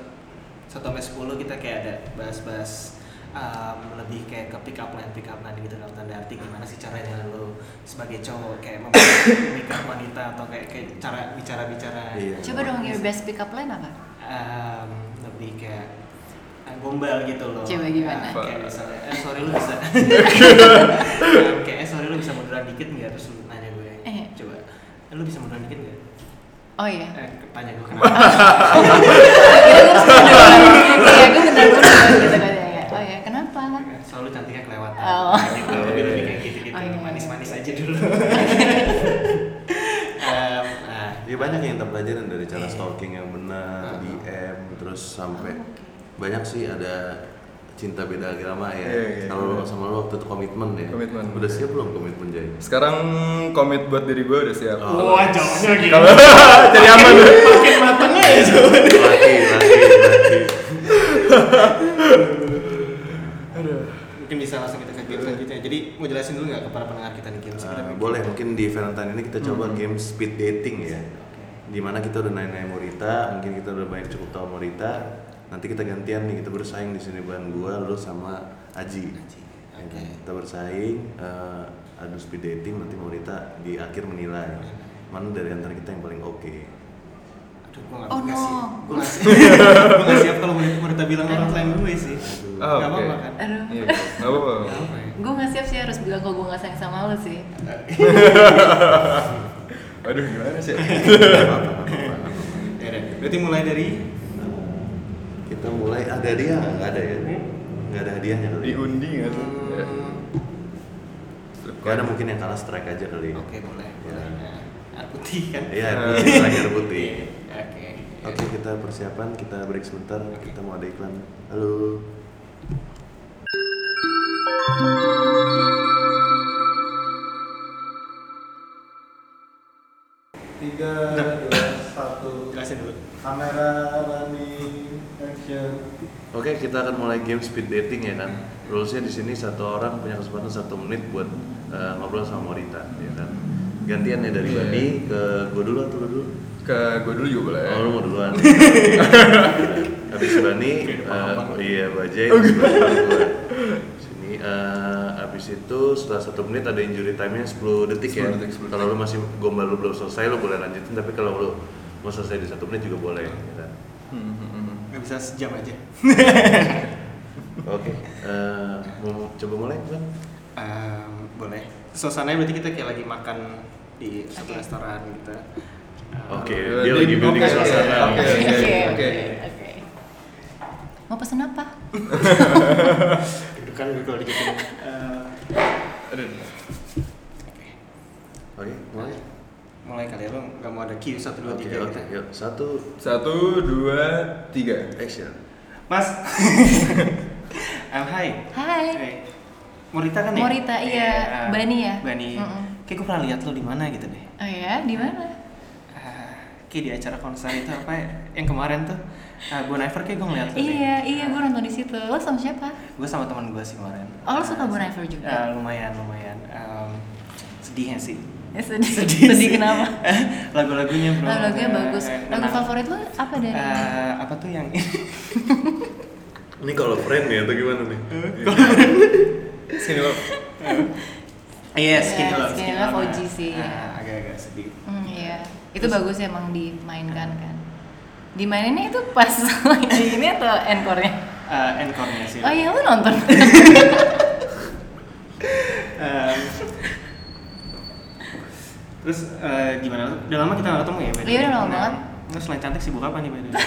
Speaker 3: 1 sampai 10 kita kayak ada bahas-bahas um, lebih kayak ke pick up line pick up line gitu dalam tanda arti gimana sih caranya lo sebagai cowok kayak mem- pick up wanita atau kayak, kayak cara bicara-bicara
Speaker 1: Iya.
Speaker 5: Coba dong your best pick up line apa?
Speaker 3: um, lebih kayak uh, gombal gitu loh.
Speaker 5: Cewek gimana?
Speaker 3: Ah, kayak misalnya, eh sorry lu bisa. Um, kayak eh sorry lu bisa munduran dikit nggak terus lu nanya gue.
Speaker 5: Eh.
Speaker 3: Coba, eh, lu bisa munduran dikit nggak?
Speaker 5: Oh iya.
Speaker 3: Eh, tanya gue kenapa?
Speaker 5: Kira gue harus mundur. Iya, gue bentar mundur gitu kan ya. Oh iya, kenapa?
Speaker 3: Selalu cantiknya kelewatan.
Speaker 5: Oh.
Speaker 3: Nah, gitu, lebih lebih kayak gitu gitu.
Speaker 5: Oh, iya.
Speaker 3: Manis-manis aja dulu. um, nah,
Speaker 1: Ya banyak yang kita pelajarin dari cara
Speaker 3: Iya.
Speaker 1: stalking yang benar,
Speaker 3: Ah.
Speaker 1: DM, terus sampai
Speaker 5: Oh, oke.
Speaker 1: banyak sih ada cinta beda agama ya.
Speaker 4: Iya, iya,
Speaker 1: Kalau
Speaker 4: iya.
Speaker 1: sama lo waktu itu komitmen ya.
Speaker 4: Komitmen.
Speaker 1: Udah siap belum komitmen Jai?
Speaker 4: Sekarang komit buat diri gue udah siap.
Speaker 1: Oh.
Speaker 3: Wah, jawabnya gitu.
Speaker 4: Kalau cari aman lu.
Speaker 3: Makin mateng aja jawabnya.
Speaker 1: laki, laki, laki.
Speaker 4: Oke,
Speaker 3: mungkin bisa langsung kita ke game selanjutnya. Jadi mau jelasin dulu nggak kepada pendengar kita nih game
Speaker 1: Eh, boleh mungkin di Valentine ini kita coba game speed dating ya dimana kita udah nanya-nanya Morita mungkin kita udah banyak cukup tahu Morita nanti kita gantian nih kita bersaing di sini ban gua lu sama Aji,
Speaker 3: Aji,
Speaker 1: Ya
Speaker 3: oke.
Speaker 1: kan? kita bersaing eh, adu speed dating nanti Morita di akhir menilai mana dari antara kita yang paling oke
Speaker 3: Aduh, gua nggak
Speaker 5: Oh,
Speaker 3: nggak
Speaker 5: no.
Speaker 3: siap. Gua nggak siap. Gua nggak siap kalau mau mau bilang orang lain gue sih.
Speaker 4: Oh, oke.
Speaker 3: Nggak apa-apa kan?
Speaker 5: Aduh,
Speaker 4: Iya, nggak apa-apa.
Speaker 3: Nggak apa-apa ya.
Speaker 5: gue nggak siap sih harus bilang kalau gue nggak sayang sama lo sih.
Speaker 4: Aduh, gimana sih?
Speaker 1: Nggak apa-apa, nggak apa-apa, nggak apa-apa.
Speaker 3: Ya udah. Berarti mulai dari
Speaker 1: kita mulai ada hadiah nggak ada ya
Speaker 3: Hmm?
Speaker 1: nggak ada hadiahnya kali ya?
Speaker 4: Diundi nggak tuh? Ya.
Speaker 3: hmm,
Speaker 1: nggak ada mungkin yang kalah strike aja kali ya.
Speaker 3: Oke, boleh.
Speaker 1: Ya.
Speaker 3: Boleh. Nah, air putih kan?
Speaker 1: iya
Speaker 4: Eh.
Speaker 1: terakhir putih
Speaker 3: Iya, Oke.
Speaker 1: Oke kita persiapan, kita break sebentar, kita mau ada iklan Halo
Speaker 2: tiga
Speaker 3: Nah.
Speaker 2: dua satu
Speaker 3: Jelasin dulu.
Speaker 2: kamera running action
Speaker 1: Oke kita akan mulai game speed dating ya kan Rulesnya di sini satu orang punya kesempatan satu menit buat eh, ngobrol sama Morita ya kan Gantian ya dari
Speaker 4: Iya.
Speaker 1: Bani ke gue dulu atau lu dulu?
Speaker 4: Ke gue dulu juga boleh.
Speaker 1: Oh lu mau duluan Oke. Habis Bani,
Speaker 3: Oke, Oh,
Speaker 1: eh,
Speaker 3: paham.
Speaker 1: iya Bajai, terus baru gue Sini, eh, habis itu setelah satu menit ada injury time-nya 10 detik
Speaker 4: 10
Speaker 1: ya
Speaker 4: detik, 10 detik.
Speaker 1: Kalau lu masih gombal lu belum selesai lu boleh lanjutin tapi kalau lu mau selesai di satu menit juga boleh ya kan?
Speaker 4: Hmm, hmm, hmm.
Speaker 3: Nggak bisa sejam aja.
Speaker 1: Oke, eh, mau coba mulai kan?
Speaker 3: Ehm, boleh. Suasananya berarti kita kayak lagi makan di satu
Speaker 5: Oke.
Speaker 3: restoran gitu. Ehm,
Speaker 1: Oke,
Speaker 4: Oke,
Speaker 1: dia lagi building
Speaker 4: oke,
Speaker 1: suasana.
Speaker 4: oke,
Speaker 5: Oke
Speaker 4: oke.
Speaker 5: Iya, oke oke. Mau pesen apa?
Speaker 3: Dudukan kan gue kalau dikit.
Speaker 4: Aduh.
Speaker 1: Oke, mulai.
Speaker 3: mulai kali ya lo nggak mau ada cue satu dua
Speaker 1: Oke,
Speaker 3: tiga
Speaker 1: oke,
Speaker 3: gitu.
Speaker 1: yuk. Satu,
Speaker 4: Satu, dua, tiga.
Speaker 1: action.
Speaker 3: Mas. Um, hai.
Speaker 5: Hai.
Speaker 3: Hai. Morita kan ya?
Speaker 5: Morita, iya.
Speaker 3: ah,
Speaker 5: Bani ya?
Speaker 3: Bani.
Speaker 5: Mm-mm.
Speaker 3: Kayak gue pernah lihat lo di mana gitu deh.
Speaker 5: Oh ya, di mana?
Speaker 3: Ah, kayak di acara konser itu apa ya? yang kemarin tuh uh, Bon Iver kayak gue ngeliat lo deh.
Speaker 5: Iya, iya, gue nonton di situ. Lo sama siapa?
Speaker 3: gue sama teman gue sih kemarin
Speaker 5: Oh, lu suka Bon Iver juga?
Speaker 3: Eh, lumayan lumayan Em, sedihnya sih
Speaker 5: Ya, sedih, sedih,
Speaker 3: sih.
Speaker 5: kenapa?
Speaker 3: lagu-lagunya bro Eh,
Speaker 5: Lagunya bagus. Lagu
Speaker 3: menang.
Speaker 5: favorit lo apa dari?
Speaker 3: Eh, apa tuh yang
Speaker 1: Ini kalau friend ya atau gimana nih?
Speaker 4: Sini lo.
Speaker 3: iya skin
Speaker 5: Iya,
Speaker 3: love
Speaker 5: Skinny Love OG sih, ya.
Speaker 3: Ah, agak-agag sedih
Speaker 5: Hmm, iya. Itu
Speaker 3: Terus-
Speaker 5: bagus emang dimainkan kan. Dimaininnya itu pas lagi ini atau encore-nya?
Speaker 3: Eh, encore-nya sih
Speaker 5: Oh iya, lu nonton.
Speaker 3: Em, terus eh, gimana udah lama kita nggak ketemu ya by the way?
Speaker 5: Iya, udah lama
Speaker 3: Nah,
Speaker 5: banget.
Speaker 3: Terus selain cantik sibuk apa nih by the way?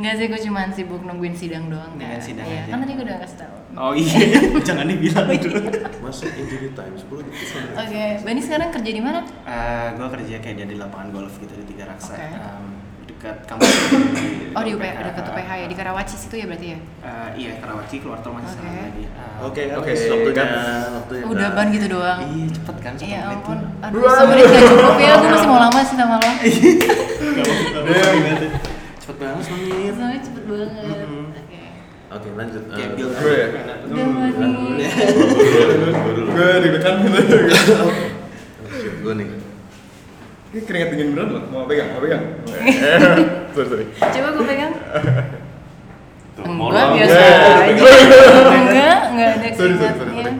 Speaker 5: Enggak sih, gue cuma sibuk nungguin sidang doang. kan.
Speaker 3: Nungguin sidang
Speaker 5: Iya,
Speaker 3: aja.
Speaker 5: kan tadi gue udah kasih tau.
Speaker 3: Oh iya, jangan dibilang
Speaker 5: Oh, iya.
Speaker 3: dulu.
Speaker 1: Masuk injury time 10 detik.
Speaker 5: Oke, Bani sekarang kerja di mana?
Speaker 3: gue Eh, kerja kayak dia di lapangan golf gitu di Tiga Raksa,
Speaker 5: Oke.
Speaker 3: Em, dekat kampus.
Speaker 5: Oh di UPH, dekat UPH ya, di Karawaci situ ya berarti ya?
Speaker 3: Eh, iya Karawaci keluar tol masih Eh,
Speaker 5: Oke.
Speaker 3: sana lagi. Em,
Speaker 1: Oke, kan?
Speaker 4: Oke,
Speaker 1: waktunya,
Speaker 4: kan.
Speaker 1: waktunya.
Speaker 5: Udah ban gitu doang.
Speaker 3: Iya cepet kan satu
Speaker 5: Iya
Speaker 3: menit
Speaker 5: ampun,
Speaker 3: tuh. Iya.
Speaker 5: aduh sebenernya gak cukup ya, gue masih mau lama sih sama lo
Speaker 3: Cepet banget semenit.
Speaker 5: Soalnya cepet banget
Speaker 3: Mm-mm.
Speaker 5: Oke
Speaker 1: Oke, lanjut.
Speaker 3: Kayak
Speaker 1: Eh,
Speaker 3: build up.
Speaker 4: Gue ya?
Speaker 5: Udah Bani
Speaker 1: Gua dulu, gua dulu.
Speaker 4: Gue deg-degan gitu.
Speaker 1: Oh, shit, gua nih.
Speaker 4: Ini keringat dingin beneran loh. Mau pegang, mau pegang. Sorry, sorry.
Speaker 5: Coba gue pegang
Speaker 1: Tuh, mau Eh,
Speaker 5: Enggak,
Speaker 1: dong.
Speaker 5: biasa
Speaker 4: Iya.
Speaker 5: aja Enggak, enggak ada
Speaker 4: Sorry, sorry, sorry,
Speaker 5: sifatnya
Speaker 4: sorry.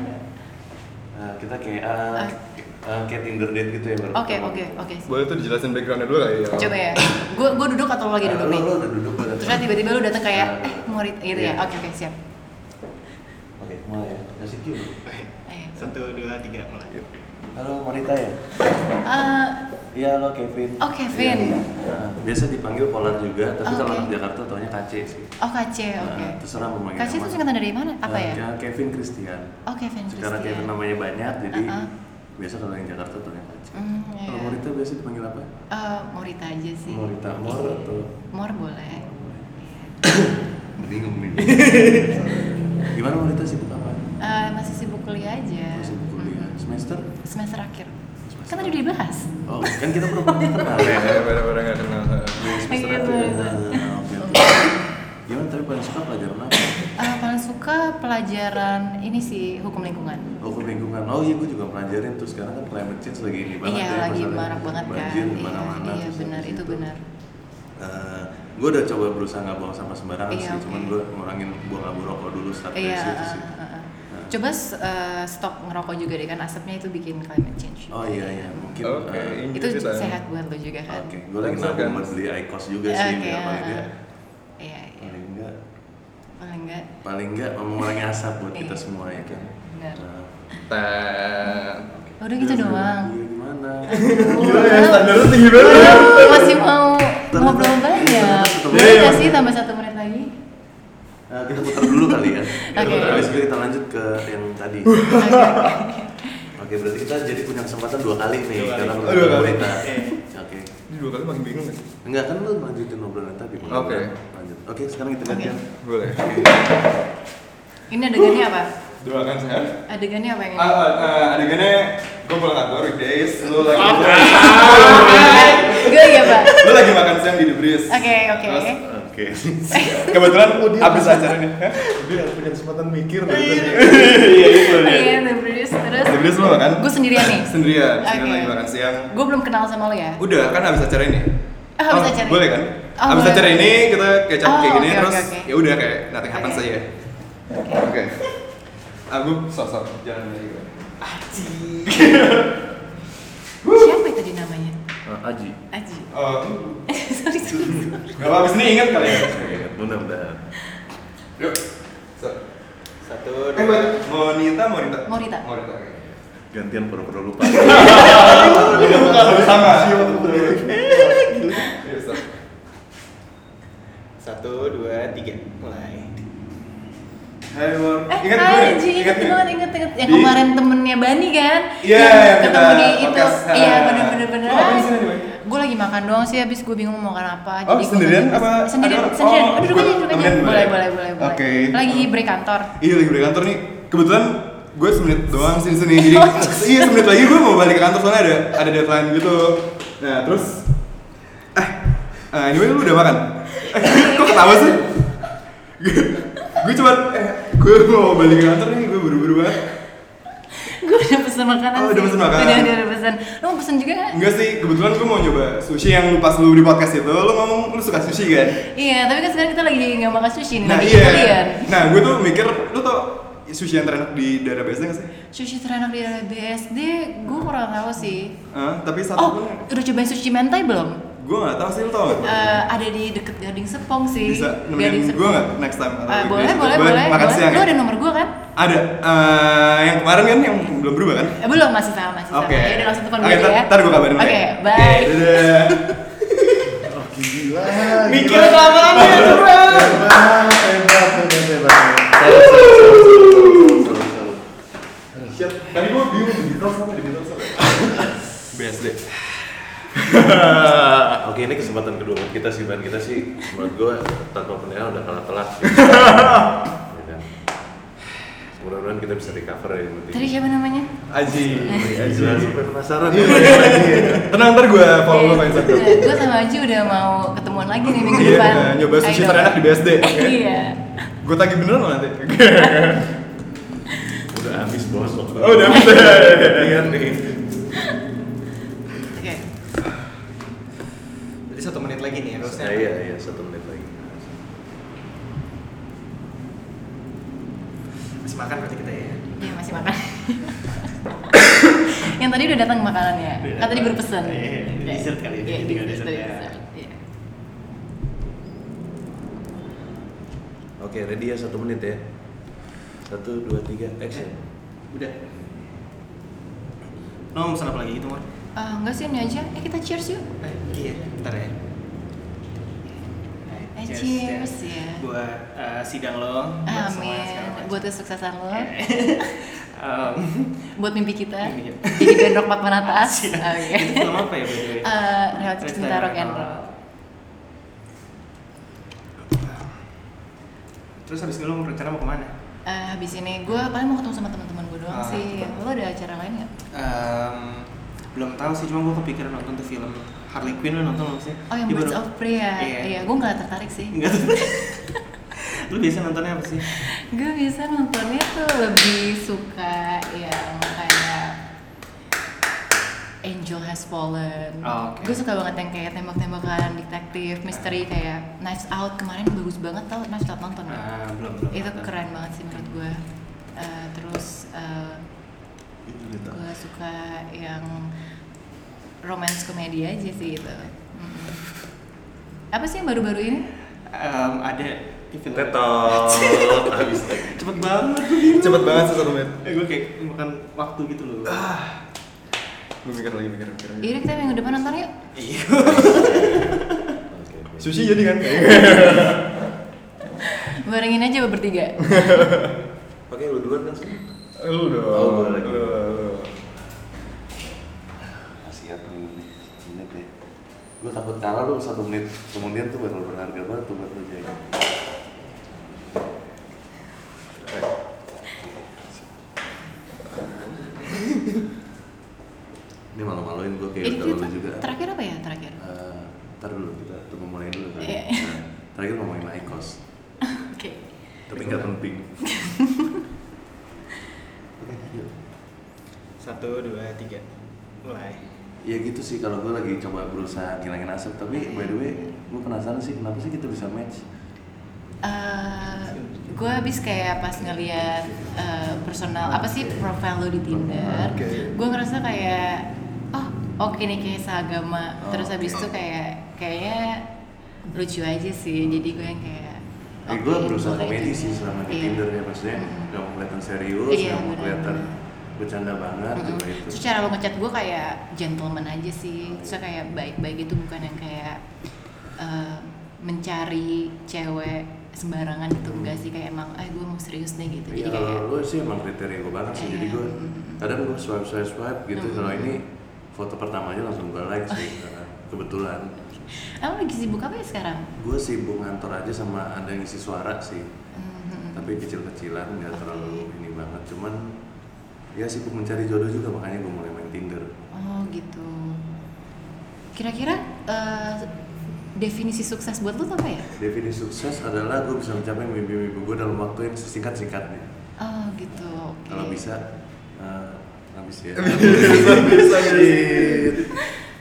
Speaker 1: Eh, kita kayak eh,
Speaker 5: Ah.
Speaker 1: eh, kayak Tinder date gitu ya baru.
Speaker 5: Oke,
Speaker 1: ketemu.
Speaker 5: oke, oke
Speaker 4: Boleh tuh dijelasin backgroundnya dulu kali ya?
Speaker 5: Coba ya, gue gue duduk atau lo lagi
Speaker 1: Eh,
Speaker 5: duduk
Speaker 1: lu-
Speaker 5: nih?
Speaker 1: lu udah duduk udah.
Speaker 5: Terus kan tiba-tiba lu datang kayak, eh mau rit- gitu ya?
Speaker 1: Iya.
Speaker 5: Oke, oke, siap
Speaker 1: Oke, mulai ya. Kasih cue. dulu.
Speaker 5: Ayo.
Speaker 3: Satu dua tiga mulai.
Speaker 1: Halo, Marita ya?
Speaker 5: Eh,
Speaker 1: Iya, halo Kevin.
Speaker 5: Oh, Kevin. Oh,
Speaker 1: Iya. Biasa dipanggil Polar juga, tapi kalau
Speaker 5: Oke.
Speaker 1: anak Jakarta taunya KC sih.
Speaker 5: Oh Kace, oke
Speaker 1: Nah, terserah mau manggil
Speaker 5: Kace
Speaker 1: apa.
Speaker 5: itu singkatan dari mana? Apa
Speaker 1: Eh,
Speaker 5: ya?
Speaker 1: ya, Kevin Christian.
Speaker 5: Oh Kevin
Speaker 1: Sekarang Kevin
Speaker 5: Christian
Speaker 1: namanya banyak, jadi
Speaker 5: Uh-uh.
Speaker 1: biasa kalau yang Jakarta taunya KC.
Speaker 5: Hmm,
Speaker 1: Kalau
Speaker 5: iya.
Speaker 1: Marita biasa dipanggil apa?
Speaker 5: Eh, Morita aja sih
Speaker 1: Marita Mor atau?
Speaker 5: Mor boleh
Speaker 1: Bingung nih. Gimana Marita sibuk apa?
Speaker 5: Eh, masih sibuk kuliah aja.
Speaker 1: Masih kuliah.
Speaker 5: Mm-mm.
Speaker 1: Semester?
Speaker 5: Semester akhir.
Speaker 1: Semester
Speaker 5: Kan tadi udah dibahas.
Speaker 1: Oh, kan kita belum pernah kenal ya.
Speaker 4: Ya, pada-pada nggak kenal.
Speaker 1: Semester nah,
Speaker 5: Iya,
Speaker 1: akhir.
Speaker 5: bener.
Speaker 1: Nah, oke, oke. Gimana tapi paling suka pelajaran apa?
Speaker 5: Eh, paling suka pelajaran ini sih hukum lingkungan.
Speaker 1: Hukum lingkungan. Oh iya, gue juga pelajarin tuh sekarang kan climate change lagi ini banget
Speaker 5: iya
Speaker 1: ya,
Speaker 5: lagi
Speaker 1: masalahnya.
Speaker 5: marak banget kan.
Speaker 1: Banjir
Speaker 5: Iya,
Speaker 1: di mana-mana.
Speaker 5: Iya,
Speaker 1: terus
Speaker 5: benar
Speaker 1: habis
Speaker 5: itu benar.
Speaker 1: gue Eh, udah coba berusaha nggak buang sampah sembarangan
Speaker 5: Iya,
Speaker 1: sih,
Speaker 5: oke.
Speaker 1: cuman gue ngurangin buang abu rokok dulu start dari
Speaker 5: Iya.
Speaker 1: situ sih.
Speaker 5: uh, uh, uh. Coba eh, stop ngerokok juga deh kan asapnya itu bikin climate change.
Speaker 1: Oh iya iya, mungkin.
Speaker 4: Oke,
Speaker 1: eh,
Speaker 4: ini
Speaker 5: itu
Speaker 4: kita-
Speaker 5: sehat buat lo juga kan.
Speaker 1: Oke, gue lagi
Speaker 4: Langsung
Speaker 1: nabung
Speaker 4: kan?
Speaker 1: buat beli IQOS juga sih,
Speaker 5: Oke,
Speaker 1: biar ya. paling
Speaker 5: uh,
Speaker 1: enggak,
Speaker 5: Iya, iya.
Speaker 1: paling enggak,
Speaker 5: Paling enggak
Speaker 1: paling enggak mengurangi asap buat kita
Speaker 5: Iya.
Speaker 1: semua ya kan.
Speaker 5: benar.
Speaker 1: Nah,
Speaker 4: Tet.
Speaker 5: Udah gitu doang.
Speaker 1: Iya gimana?
Speaker 4: Gila ya, standar lu tinggi banget ya.
Speaker 5: Wow, masih mau ngobrol banyak.
Speaker 1: Tetep-
Speaker 5: Boleh
Speaker 4: tetep-
Speaker 5: nggak sih tambah satu menit lagi?
Speaker 1: Nah, kita putar dulu kali ya. Kita
Speaker 5: Oke.
Speaker 1: putar, Habis itu kita lanjut ke yang tadi. Oke, berarti kita jadi punya kesempatan dua kali nih
Speaker 2: Dua kali.
Speaker 1: dalam
Speaker 4: Oh, dua kali.
Speaker 1: berita.
Speaker 2: Oke.
Speaker 1: Oke.
Speaker 4: Ini dua kali makin bingung gak sih?
Speaker 1: Enggak kan lu lanjutin obrolan tadi. Bang.
Speaker 4: Oke.
Speaker 1: Lanjut. Oke, sekarang kita lihat
Speaker 5: Oke.
Speaker 1: yang
Speaker 4: Boleh.
Speaker 5: Ini adegannya apa?
Speaker 4: Doakan sehat.
Speaker 5: Adegannya apa yang
Speaker 4: kan, Ah,
Speaker 5: ini?
Speaker 4: ah, ah, adegannya gue pulang kantor weekdays, lu lagi
Speaker 5: Gue ya, Pak.
Speaker 4: lu lagi makan siang di Debris.
Speaker 5: Oke, oke.
Speaker 4: Terus,
Speaker 1: Oke.
Speaker 4: Kebetulan abis acara nih.
Speaker 2: Dia punya kesempatan mikir
Speaker 4: Iya itu
Speaker 5: Iya, The Breeze. Terus
Speaker 4: Debris lu makan?
Speaker 5: gue sendirian nih.
Speaker 4: Sendirian, sendirian
Speaker 5: Oke.
Speaker 4: lagi makan siang.
Speaker 5: Gue belum kenal sama lo ya.
Speaker 4: Udah kan abis acara ini.
Speaker 5: Ah, habis acara ini.
Speaker 4: Boleh kan?
Speaker 5: Oh,
Speaker 4: abis
Speaker 5: boleh.
Speaker 4: acara ini kita kayak cap
Speaker 5: Oh,
Speaker 4: kayak gini
Speaker 5: oke,
Speaker 4: terus
Speaker 5: oke, oke.
Speaker 4: ya udah kayak nothing happens
Speaker 5: Oke.
Speaker 4: aja. Oke. Aku sosok jalan lagi.
Speaker 5: Siapa itu tadi namanya?
Speaker 4: Eh,
Speaker 1: Aji.
Speaker 5: Aji.
Speaker 4: Oh,
Speaker 5: Sorry, sorry.
Speaker 4: gak apa abis ini ingat kali ya.
Speaker 1: Mudah-mudahan.
Speaker 4: Yuk. So.
Speaker 2: Satu,
Speaker 4: Eh,
Speaker 2: dua,
Speaker 4: Monita, Monita.
Speaker 5: Monita.
Speaker 4: Monita. oke.
Speaker 1: Gantian pura-pura lupa.
Speaker 4: Sama sama. Iya, so.
Speaker 2: satu, dua, tiga.
Speaker 3: mulai
Speaker 4: Hai, Mon.
Speaker 5: Eh,
Speaker 4: Ingat ya? gue.
Speaker 5: Aji, inget banget, inget, inget. Yang
Speaker 4: Di-
Speaker 5: kemarin temennya Bani kan?
Speaker 4: Iya,
Speaker 5: Yang
Speaker 4: kita
Speaker 5: ketemu di itu.
Speaker 4: podcast.
Speaker 5: Iya, bener-bener bener.
Speaker 4: Lu ngapain di sini, Bani?
Speaker 5: Gue lagi makan doang sih, habis gue bingung mau makan apa.
Speaker 4: Oh,
Speaker 5: gua
Speaker 4: sendirian
Speaker 5: nggak-
Speaker 4: apa- ada
Speaker 5: Sendirian,
Speaker 4: orang?
Speaker 5: sendirian.
Speaker 4: Oh,
Speaker 5: Aduh, duduk aja, duduk aja.
Speaker 4: temenin
Speaker 5: Boleh,
Speaker 4: boleh.
Speaker 5: boleh, boleh. boleh.
Speaker 4: Oke.
Speaker 5: Lagi break kantor.
Speaker 4: Iya lagi balik kantor nih. Kebetulan gue semenit doang sih di sini. Jadi iya semenit lagi gue mau balik ke kantor soalnya ada ada deadline gitu. Nah terus eh eh, anyway lu udah makan? Eh, kok ketawa sih? gue cuman eh gue mau balik ke kantor nih gue buru-buru banget.
Speaker 5: Gue udah pesen makanan
Speaker 4: Oh, udah
Speaker 5: sih.
Speaker 4: pesen makanan. Hmm.
Speaker 5: Udah, udah, udah pesen. Lo mau pesen juga nggak?
Speaker 4: Enggak sih, kebetulan gue mau nyoba sushi yang lu pas lu di podcast itu lu ngomong lu suka sushi kan?
Speaker 5: Iya, tapi kan sekarang kita lagi nggak makan sushi nih.
Speaker 4: Nah
Speaker 5: lagi Italian.
Speaker 4: iya. Nah gue tuh mikir lu tau sushi yang terenak di daerah biasa nggak sih?
Speaker 5: Sushi terenak di daerah BSD, gue kurang tahu sih.
Speaker 4: Eh, tapi satu
Speaker 5: Oh,
Speaker 4: pun
Speaker 5: udah cobain sushi mentai belum?
Speaker 4: gue nggak tahu sih lu tau nggak?
Speaker 5: Eh, ada di deket Gading Serpong sih.
Speaker 4: bisa
Speaker 5: Gading
Speaker 4: nemenin gue nggak next time atau
Speaker 5: Eh,
Speaker 4: weekday
Speaker 5: boleh,
Speaker 4: gitu?
Speaker 5: boleh, boleh.
Speaker 4: makan
Speaker 5: boleh.
Speaker 4: siang
Speaker 5: Lu
Speaker 4: ya?
Speaker 5: ada nomor gue kan?
Speaker 4: ada eh, yang kemarin kan yang belum berubah kan
Speaker 5: Eh, belum, masih sama, masih sama.
Speaker 4: oke
Speaker 5: Ya udah langsung telepon
Speaker 4: Oke,
Speaker 5: gue
Speaker 4: ntar-
Speaker 5: ya.
Speaker 4: ntar gue kabarin
Speaker 5: Oke,
Speaker 4: deh.
Speaker 5: bye.
Speaker 4: dadah Oh,
Speaker 2: Gila.
Speaker 4: mikir kelamaan ya
Speaker 2: Hebat, hebat, hebat, hebat.
Speaker 4: tadi gue bingung di Beatles sama di Beatles apa BSD
Speaker 1: Oke, ini kesempatan kedua buat kita sih, Ban. Kita sih menurut gue tanpa penilaian udah kalah telak. sih. Ya kan? Mudah-mudahan kita bisa recover ya. yang penting.
Speaker 5: Tadi siapa namanya?
Speaker 4: Aji Aji
Speaker 1: Jangan sampai penasaran.
Speaker 4: Iya, iya, iya. tenang ntar gue follow lo main Instagram
Speaker 5: gue Iya, sama Aji udah mau ketemuan lagi nih minggu
Speaker 4: Iya,
Speaker 5: depan.
Speaker 4: nyoba sushi
Speaker 5: Ayo.
Speaker 4: terenak di BSD. Oke.
Speaker 5: Iya.
Speaker 4: gue tagih beneran lo nanti
Speaker 1: Udah habis bos waktu. Iya kan?
Speaker 4: oh udah Iya, udah.
Speaker 1: Ingat nih.
Speaker 5: Oke.
Speaker 3: jadi satu menit lagi nih harusnya
Speaker 1: Nah, iya, iya, satu menit lagi.
Speaker 3: masih makan berarti kita ya
Speaker 5: Iya, masih makan. Yang tadi udah datang makanannya. Kan tadi baru pesan.
Speaker 3: Iya, iya, di
Speaker 5: Oke.
Speaker 3: dessert kali ya, di
Speaker 5: Iya, di
Speaker 3: tiga
Speaker 5: dessert.
Speaker 3: dessert ya.
Speaker 5: di dessert. Iya.
Speaker 1: Oke, ready ya satu menit ya. Satu, dua, tiga, action.
Speaker 3: udah lo mau pesan apa lagi gitu mor
Speaker 5: Ah, enggak sih ini aja. Eh kita cheers yuk.
Speaker 3: eh, iya bentar ya
Speaker 5: Eh,
Speaker 3: Eh,
Speaker 5: cheers, ya.
Speaker 3: buat eh, sidang lo buat semua yang segala
Speaker 5: Amin.
Speaker 3: macam. Oh,
Speaker 5: Buat kesuksesan lo,
Speaker 4: Iya.
Speaker 3: Em,
Speaker 5: buat mimpi kita.
Speaker 3: Mimpi kita.
Speaker 5: Jadi band rock papan atas. Oke.
Speaker 3: Iya. itu ya. film apa ya by the way?
Speaker 5: Oh, iya. Eh, relatif cinta rock and roll.
Speaker 3: Terus habis ini lo rencana mau kemana?
Speaker 5: Eh, habis ini gue paling mau ketemu sama teman-teman gue doang
Speaker 3: Ah.
Speaker 5: sih. Lo ada acara lain nggak?
Speaker 3: belum tahu sih, cuma gue kepikiran nonton tuh film Harley Quinn lo nonton belum sih?
Speaker 5: Oh yang
Speaker 3: Dia
Speaker 5: Birds
Speaker 3: baru-
Speaker 5: of Prey ya?
Speaker 3: Iya.
Speaker 5: Iya, gue nggak tertarik sih.
Speaker 3: Enggak tuh. Lu biasa nontonnya apa sih?
Speaker 5: gue bisa nontonnya tuh lebih suka yang kayak Angel Has Fallen.
Speaker 3: Oh, oke.
Speaker 5: Gue suka banget yang kayak tembak-tembakan, detektif, misteri kayak Nights Out kemarin bagus banget tau Nights Out nonton nggak?
Speaker 3: Ah, belum belum.
Speaker 5: Itu
Speaker 3: nonton.
Speaker 5: keren banget sih menurut gue. Eh, terus eh,
Speaker 1: Itu dia tahu.
Speaker 5: gue suka yang romance komedi aja sih itu. Mm. Apa sih yang baru-baru ini?
Speaker 3: Em, ada TV
Speaker 1: Tetol habis tag.
Speaker 3: Cepet banget.
Speaker 4: Cepet banget sih satu menit.
Speaker 3: Eh, gue kayak makan waktu gitu loh.
Speaker 4: Gue mikir lagi, mikir, mikir. lagi.
Speaker 1: Iya.
Speaker 5: Yaudah kita minggu depan nonton yuk.
Speaker 1: Oke, oke.
Speaker 4: Sushi jadi kan?
Speaker 5: Barengin aja bertiga.
Speaker 1: Oke, lu duluan kan sih.
Speaker 4: Lu dong.
Speaker 1: Oh, gue lagi.
Speaker 4: Lu, lu.
Speaker 1: Siap nih, menit ya. Gue takut kalah lu satu menit kemudian tuh bakal berharga banget tuh buat lu jadi. Ini malu-maluin gue kayak Iya, udah lu juga.
Speaker 5: terakhir apa ya terakhir?
Speaker 1: Eh, ntar dulu kita tunggu mulai dulu kan.
Speaker 5: Iya.
Speaker 1: Nah, terakhir ngomongin Aikos,
Speaker 5: Oke.
Speaker 1: tapi nggak penting. Oke, yuk.
Speaker 2: Satu, dua, tiga. Mulai.
Speaker 1: Ya gitu sih kalau gue lagi coba berusaha ngilangin asap tapi by the way gue penasaran sih kenapa sih kita bisa match
Speaker 5: Eh, gue habis kayak pas ngeliat eh, personal apa sih profil lo di Tinder,
Speaker 4: Oke.
Speaker 5: gue ngerasa kayak oh oke nih kayak
Speaker 1: Oh,
Speaker 5: seagama. Terus habis
Speaker 1: oke.
Speaker 5: itu kayak kayaknya lucu aja sih. Jadi gue yang kayak
Speaker 1: Eh,
Speaker 5: oke,
Speaker 1: gue berusaha
Speaker 5: boleh
Speaker 1: komedi
Speaker 5: juga.
Speaker 1: sih selama di
Speaker 5: Iya.
Speaker 1: Tinder ya maksudnya
Speaker 5: Mm-mm.
Speaker 1: nggak mau kelihatan serius,
Speaker 5: Iya,
Speaker 1: nggak mau
Speaker 5: benar.
Speaker 1: kelihatan bercanda banget
Speaker 5: Mm-mm.
Speaker 1: juga itu.
Speaker 5: Terus cara lo ngechat gue kayak gentleman aja sih Terus kayak baik-baik itu bukan yang kayak eh, mencari cewek sembarangan gitu enggak sih kayak emang eh gue mau serius nih gitu
Speaker 1: Iya,
Speaker 5: jadi
Speaker 1: kalau
Speaker 5: kayak
Speaker 1: lu sih emang kriteria gue banget sih, jadi
Speaker 5: Iya,
Speaker 1: gue
Speaker 5: mm-mm.
Speaker 1: kadang gue swipe swipe swipe gitu.
Speaker 5: Mm-mm.
Speaker 1: Kalau ini foto pertamanya langsung gue like sih, karena kebetulan.
Speaker 5: emang lagi sibuk apa ya sekarang
Speaker 1: Gue sibuk ngantor aja sama ada yang isi suara sih,
Speaker 5: Mhm.
Speaker 1: tapi kecil-kecilan nggak
Speaker 5: Oke.
Speaker 1: terlalu ini banget. Cuman ya sibuk mencari jodoh juga makanya gue mulai main Tinder.
Speaker 5: oh gitu kira-kira eh, definisi sukses buat lo tuh apa ya
Speaker 1: Definisi sukses adalah gue bisa mencapai mimpi-mimpi gue dalam waktu yang sesingkat-singkatnya.
Speaker 5: oh gitu oke
Speaker 1: Kalau bisa eh, habis ya.
Speaker 4: Bisa, bisa, Dit.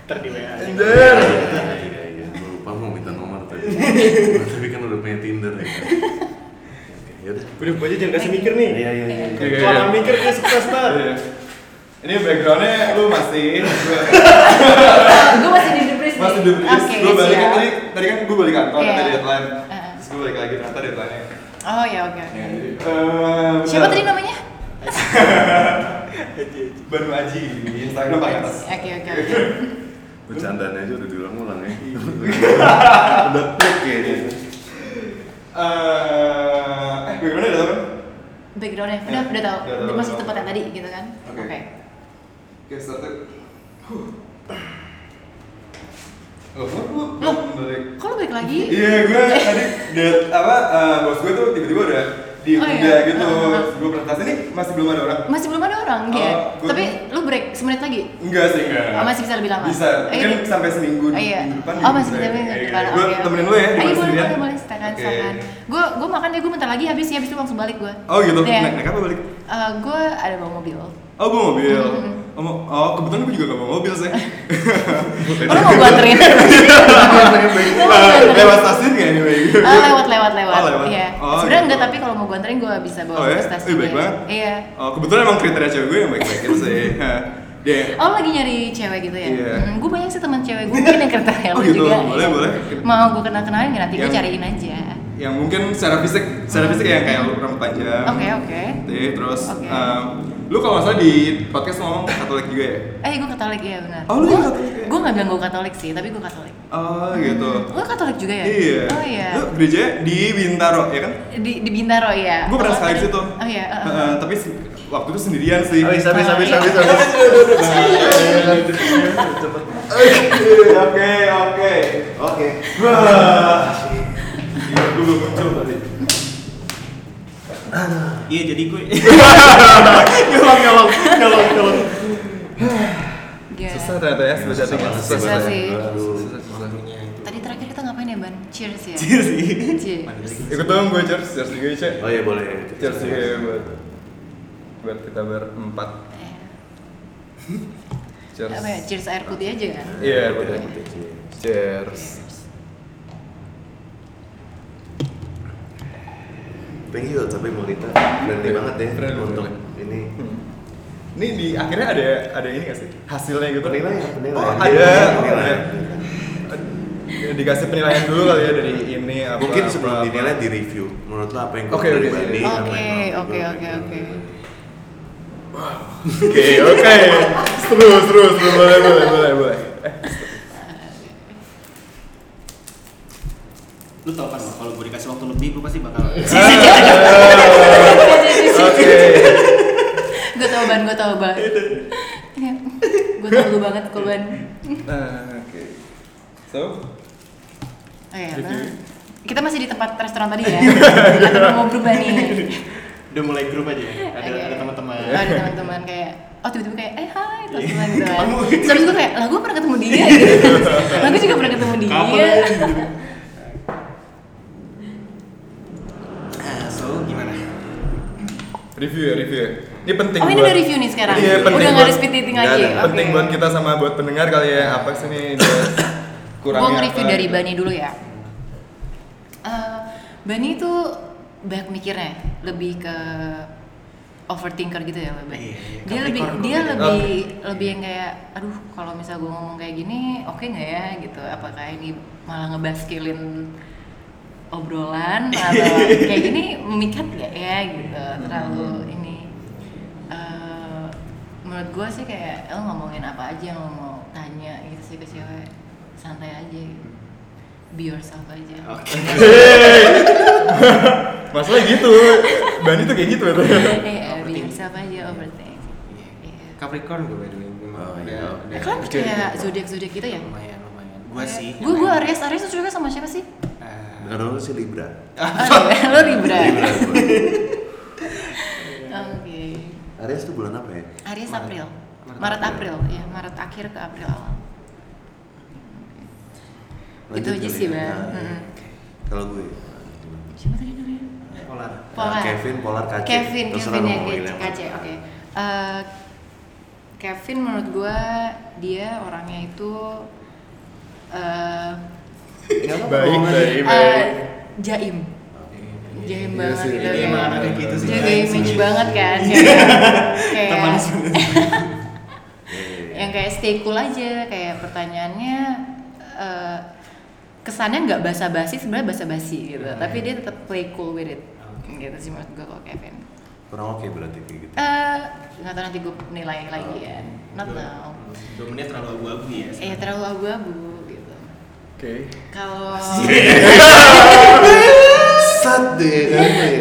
Speaker 3: Ntar di WA.
Speaker 4: Tinder.
Speaker 1: Iya, iya. Gua lupa mau minta nomor tadi. Tapi kan udah punya Tinder ya. kan? Oke, Yaudah.
Speaker 2: Udah, gue aja jangan kasih mikir nih.
Speaker 1: Iya, iya, iya.
Speaker 4: Oke, oke,
Speaker 2: Kalau
Speaker 4: oke.
Speaker 2: mikir kayak sukses banget.
Speaker 4: Iya. Ini backgroundnya lu masih gua-
Speaker 5: gue masih di debris nih.
Speaker 4: masih dulu
Speaker 5: Oke,
Speaker 4: gue balik kan
Speaker 5: siap.
Speaker 4: tadi tadi kan gue balik kantor
Speaker 5: Iya.
Speaker 4: tadi deadline
Speaker 5: Heeh.
Speaker 4: terus gue balik lagi ternyata Eh, deadline nya
Speaker 5: oh ya oke
Speaker 4: Iya.
Speaker 5: oke siapa
Speaker 4: siapa
Speaker 5: tadi namanya
Speaker 4: Banu Aji di Instagram pakai atas Iya.
Speaker 5: oke oke oke
Speaker 1: Bercandaan aja udah diulang-ulang ya. udah klik kayaknya.
Speaker 4: Eh, eh backgroundnya ada apa
Speaker 5: backgroundnya udah
Speaker 4: Ya,
Speaker 5: udah tahu
Speaker 4: udah tahu,
Speaker 5: masuk
Speaker 4: udah
Speaker 5: tempat
Speaker 4: tahu.
Speaker 5: yang tadi gitu kan
Speaker 4: Oke. Oke, started Oh, Huh. Loh, lu
Speaker 5: Loh.
Speaker 4: balik
Speaker 5: kok lo balik lagi
Speaker 4: Iya, gue tadi dead apa eh, bos gue tuh tiba-tiba udah di
Speaker 5: Oh, iya.
Speaker 4: udah gitu.
Speaker 5: Heeh, heeh.
Speaker 4: Gue presentasi nih masih belum ada orang.
Speaker 5: masih belum ada orang ya
Speaker 4: Oh, gua-
Speaker 5: tapi lo break semenit lagi
Speaker 4: Enggak sih, enggak.
Speaker 5: Oh, masih bisa lebih lama?
Speaker 4: Bisa. Mungkin
Speaker 5: Eh,
Speaker 4: sampai seminggu
Speaker 5: Oh iya.
Speaker 4: minggu depan.
Speaker 5: Oh masih bisa minggu depan.
Speaker 4: Gue
Speaker 5: oke, oke.
Speaker 4: temenin lu ya di
Speaker 5: Ayo
Speaker 4: mana
Speaker 5: boleh
Speaker 4: sendirian.
Speaker 5: boleh boleh silakan
Speaker 4: Oke.
Speaker 5: silakan. Gue gue makan deh gue bentar lagi habis ya habis itu langsung balik gue.
Speaker 4: Oh gitu.
Speaker 5: Iya.
Speaker 4: Naik, naik apa balik?
Speaker 5: gue eh, ada bawa mobil. Oh
Speaker 4: Oh, gue mobil.
Speaker 5: Mhm.
Speaker 4: Oh, mau- oh, kebetulan gue juga gak mau mobil sih.
Speaker 5: lo Oh, mau gue anterin? Lo mau gua anterin?
Speaker 4: Lewat stasiun gak anyway?
Speaker 5: Ah, lewat lewat lewat.
Speaker 4: Oh, lewat.
Speaker 5: Iya.
Speaker 4: Oh,
Speaker 5: Sebenarnya
Speaker 4: gitu.
Speaker 5: enggak tapi kalau mau gue anterin gue bisa bawa
Speaker 4: Oh, iya? Ih,
Speaker 5: ke stasiun.
Speaker 4: baik
Speaker 5: ya.
Speaker 4: banget.
Speaker 5: Iya.
Speaker 4: Oh, kebetulan emang kriteria cewek gue yang baik-baik gitu sih. Hah. Dia
Speaker 5: Oh lagi nyari cewek gitu ya?
Speaker 4: Iya.
Speaker 5: Hmm, gue banyak sih teman cewek gue mungkin yang kriteria
Speaker 4: Oh,
Speaker 5: lo
Speaker 4: gitu.
Speaker 5: juga. Iya.
Speaker 4: Boleh, boleh.
Speaker 5: Mau gue kenal kenalin nanti gue
Speaker 4: Yang-
Speaker 5: cariin aja.
Speaker 4: yang mungkin secara fisik, secara fisik yang kayak lu rambut panjang.
Speaker 5: Oke oke.
Speaker 4: Gitu, terus
Speaker 5: Oke.
Speaker 4: em, lu kalau nggak salah di podcast ngomong katolik juga ya?
Speaker 5: Eh gue katolik ya benar.
Speaker 4: Oh, lu
Speaker 5: Gua-
Speaker 4: juga Katolik ya?
Speaker 5: Gua nggak bilang gue katolik sih tapi gue katolik.
Speaker 4: Oh gitu.
Speaker 5: Lo katolik juga ya?
Speaker 4: Iya.
Speaker 5: Oh iya.
Speaker 4: Lu gereja di Bintaro ya kan?
Speaker 5: Di, di Bintaro ya?
Speaker 4: Gue pernah
Speaker 5: Oh,
Speaker 4: sekali
Speaker 5: tadi-
Speaker 4: situ.
Speaker 5: Oh iya. uh, uh.
Speaker 4: Heeh, tapi se- waktu itu sendirian sih.
Speaker 1: Habis, habis, habis,
Speaker 5: Iya.
Speaker 1: habis, habis. Cepet.
Speaker 4: Oke, Iya, oke, oke.
Speaker 1: Oke.
Speaker 4: Gila, gue belum muncul tadi.
Speaker 3: Iya jadi gue.
Speaker 4: Nyolong, nyolong, nyolong, nyolong.
Speaker 5: Gila.
Speaker 4: Susah ternyata
Speaker 1: Ya,
Speaker 4: ya,
Speaker 5: Iya,
Speaker 4: sebenarnya
Speaker 1: susah banget
Speaker 5: Susah
Speaker 1: banget.
Speaker 5: sih.
Speaker 1: Aduh.
Speaker 4: susah.
Speaker 5: Tapi Tadi terakhir kita ngapain ya, Ban? Cheers ya?
Speaker 2: Cheers sih.
Speaker 5: Cheers.
Speaker 4: Ikut dong gue cheers, cheers juga Ica
Speaker 1: Oh iya boleh.
Speaker 4: Cheers juga ya buat Buat kita berempat
Speaker 5: Eh,
Speaker 4: Cheers
Speaker 5: Apa ya? Cheers air putih aja kan?
Speaker 4: Iya,
Speaker 1: boleh.
Speaker 4: boleh. Cheers
Speaker 1: Thank you tapi Molita friendly banget ya
Speaker 4: Iya, Friendly,
Speaker 1: untuk ini.
Speaker 4: Hmm. Ini di akhirnya ada ada ini gak sih? Hasilnya gitu
Speaker 1: Penilaian, penilaian. Iya,
Speaker 4: Oh, ada
Speaker 1: Penilaian.
Speaker 4: ada. Dikasih penilaian dulu kali ya dari ini apa
Speaker 1: Mungkin
Speaker 4: apa,
Speaker 1: sebelum
Speaker 4: apa.
Speaker 1: dinilai di review. Menurut lo apa yang
Speaker 4: Oke,
Speaker 1: kurang
Speaker 4: oke,
Speaker 1: dari
Speaker 4: oke.
Speaker 1: Bali, apa yang
Speaker 5: Oke,
Speaker 1: kurang
Speaker 5: oke,
Speaker 1: dari
Speaker 5: oke,
Speaker 1: Bali?
Speaker 5: oke.
Speaker 4: Oke, oke Terus, terus, terus Boleh, boleh, boleh, boleh Eh,
Speaker 3: lu tau kan kalau gue dikasih waktu lebih gue pasti bakal
Speaker 4: Eh, Oke
Speaker 5: Gue tau ban, gue tau ban. gue tau lu banget kok ban.
Speaker 4: Nah, Oke So,
Speaker 5: Oh, iya,
Speaker 4: Review.
Speaker 5: Ban. Kita masih di tempat restoran tadi ya? Atau udah mau berubah nih?
Speaker 2: Udah mulai grup aja. ya? Ada
Speaker 5: Oke.
Speaker 2: ada teman-teman.
Speaker 5: Oh, ada teman-teman kayak oh tiba-tiba kayak eh hai terus
Speaker 2: Iya.
Speaker 5: teman gitu kan
Speaker 2: Kamu.
Speaker 5: terus gue kayak lah gue pernah ketemu dia gitu lah gue juga pernah ketemu dia
Speaker 2: Kapan?
Speaker 3: Ah, so gimana
Speaker 4: review ya, review ya Ini penting
Speaker 5: oh ini
Speaker 4: buat-
Speaker 5: ada review nih sekarang
Speaker 4: Iya, penting
Speaker 5: udah nggak ada
Speaker 4: buat-
Speaker 5: speed dating
Speaker 1: nggak
Speaker 5: lagi
Speaker 1: ada.
Speaker 5: oke
Speaker 4: penting buat kita sama buat pendengar kali ya apa sih nih dia kurangnya
Speaker 5: gue nge-review
Speaker 4: apa
Speaker 5: dari
Speaker 4: gitu.
Speaker 5: Bani dulu ya Eh, Bani itu banyak mikirnya lebih ke overthinker gitu ya lebih
Speaker 3: Iya, iya,
Speaker 5: dia
Speaker 3: Capricorn
Speaker 5: lebih
Speaker 3: kalau
Speaker 5: dia
Speaker 3: gitu.
Speaker 5: lebih lebih yang kayak aduh kalau misal gue ngomong kayak gini oke nggak ya gitu apakah ini malah ngebaskilin obrolan atau kayak gini memikat nggak ya gitu terlalu
Speaker 3: Hmm.
Speaker 5: ini Eh, menurut gue sih kayak lo ngomongin apa aja yang lo mau tanya gitu sih ke cewek santai aja gitu. be yourself aja
Speaker 3: Iya.
Speaker 4: masalah gitu Bani tuh kayak gitu betul
Speaker 5: Eh, be yourself aja overthink Iya.
Speaker 2: Capricorn gue by the way. memang.
Speaker 1: Oh, iya.
Speaker 2: Ada- ada-
Speaker 5: Eh, kalian percaya zodiak zodiak kita ya
Speaker 3: lumayan lumayan gue gitu sih Eh,
Speaker 5: gue gue Aries Aries tuh juga sama siapa sih
Speaker 3: Ah,
Speaker 1: Dengar dulu sih Libra.
Speaker 5: oh, lo Libra
Speaker 1: Libra. gua.
Speaker 5: oke
Speaker 1: Aries tuh bulan apa ya?
Speaker 5: Aries
Speaker 3: Maret.
Speaker 5: April
Speaker 3: Maret,
Speaker 5: Maret
Speaker 1: April.
Speaker 5: April ya Maret akhir ke April awal itu
Speaker 1: Lanjut
Speaker 5: aja
Speaker 1: kali
Speaker 5: sih
Speaker 1: ya.
Speaker 5: bang
Speaker 1: Nah,
Speaker 5: Mm.
Speaker 1: Kalau gue Nah,
Speaker 5: siapa tadi namanya
Speaker 3: polar
Speaker 5: Polar.
Speaker 1: Kevin Polar Kace.
Speaker 5: Kevin,
Speaker 1: Terserah lo
Speaker 5: Kevin ya,
Speaker 1: mau
Speaker 5: Kece,
Speaker 1: manggilnya apa.
Speaker 5: Kace, oke. Eh, Kevin menurut gua dia orangnya itu eh
Speaker 1: Iya,
Speaker 4: baik baik
Speaker 5: eh,
Speaker 4: baik
Speaker 5: jaim, jaim
Speaker 4: Iya
Speaker 5: banget
Speaker 4: sih,
Speaker 5: gitu.
Speaker 4: iya,
Speaker 5: ya.
Speaker 4: emang anaknya gitu sih,
Speaker 5: Jaga
Speaker 4: jaim
Speaker 5: image
Speaker 4: sih. Iya.
Speaker 5: banget kan, kayak,
Speaker 3: Teman
Speaker 5: kayak
Speaker 1: Iya, iya, iya.
Speaker 5: yang kayak stay cool aja, kayak pertanyaannya eh, kesannya nggak basa-basi, sebenarnya basa-basi
Speaker 4: Hmm.
Speaker 5: gitu. Tapi dia tetap play cool with it, gitu sih menurut gua kalau Kevin.
Speaker 1: Kurang oke berarti kayak gitu.
Speaker 5: Eh, nggak tahu nanti gue nilai lagi
Speaker 3: Iya,
Speaker 5: ya not now
Speaker 3: dua menit terlalu abu-abu ya
Speaker 5: eh terlalu abu-abu gitu
Speaker 4: oke
Speaker 5: kalau
Speaker 4: Iya.
Speaker 1: Sat deh kan.